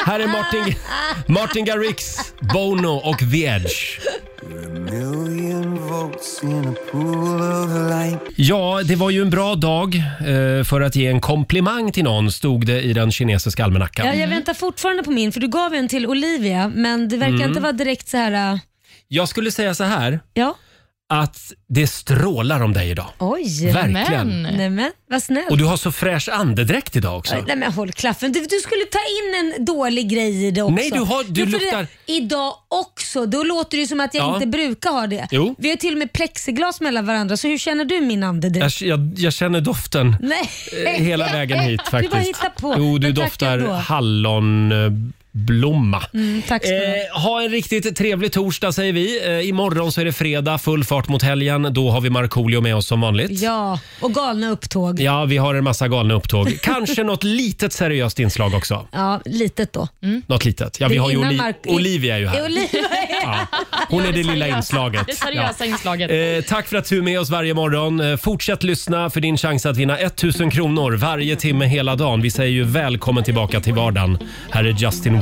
A: Här är Martin, Martin Garrix, Bono och The Edge. Ja, det var ju en bra dag eh, för att ge en komplimang till någon, stod det i den kinesiska almanackan.
B: Ja, jag väntar fortfarande på min för du gav en till Olivia men det verkar
A: Mm.
B: inte vara direkt så här... äh,
A: Jag skulle säga så här.
B: Ja.
A: att det strålar om dig idag.
B: Oj!
A: Verkligen.
B: Nämen. Nämen, vad snällt.
A: Och du har så fräsch andedräkt idag också.
B: Nej men håll klaffen. Du, du skulle ta in en dålig grej i det också.
A: Nej, du har- du
B: för
A: luktar-
B: Det, idag också. Då låter det ju som att jag
A: Ja.
B: inte brukar ha det.
A: Jo.
B: Vi har till och med plexiglas mellan varandra. Så hur känner du min andedräkt?
A: Jag, jag, jag känner doften
B: Nej.
A: eh, hela vägen hit
B: Du bara
A: faktiskt.
B: hittar på.
A: Jo, du
B: Men tack
A: doftar
B: ändå.
A: hallonblomma.
B: Mm, tack ska du ha.
A: Eh, ha en riktigt trevlig torsdag säger vi. Eh, imorgon så är det fredag, full fart mot helgen. Då har vi Markoolio med oss som vanligt.
B: Ja, och galna upptåg.
A: Ja, vi har en massa galna upptåg. Kanske något litet seriöst inslag också.
B: Ja, litet då. Mm.
A: Något litet. Ja, vi
B: Det är
A: har ju
B: innan
A: Oli-
B: Mark-
A: Olivia är ju här.
B: Olivia är
A: Ja. Hon är det lilla inslaget.
C: Det seriösa inslaget.
A: Eh, tack för att du är med oss varje morgon. Eh, fortsätt lyssna för din chans att vinna 1000 kronor varje timme hela dagen. Vi säger ju välkommen tillbaka till vardagen. Här är Justin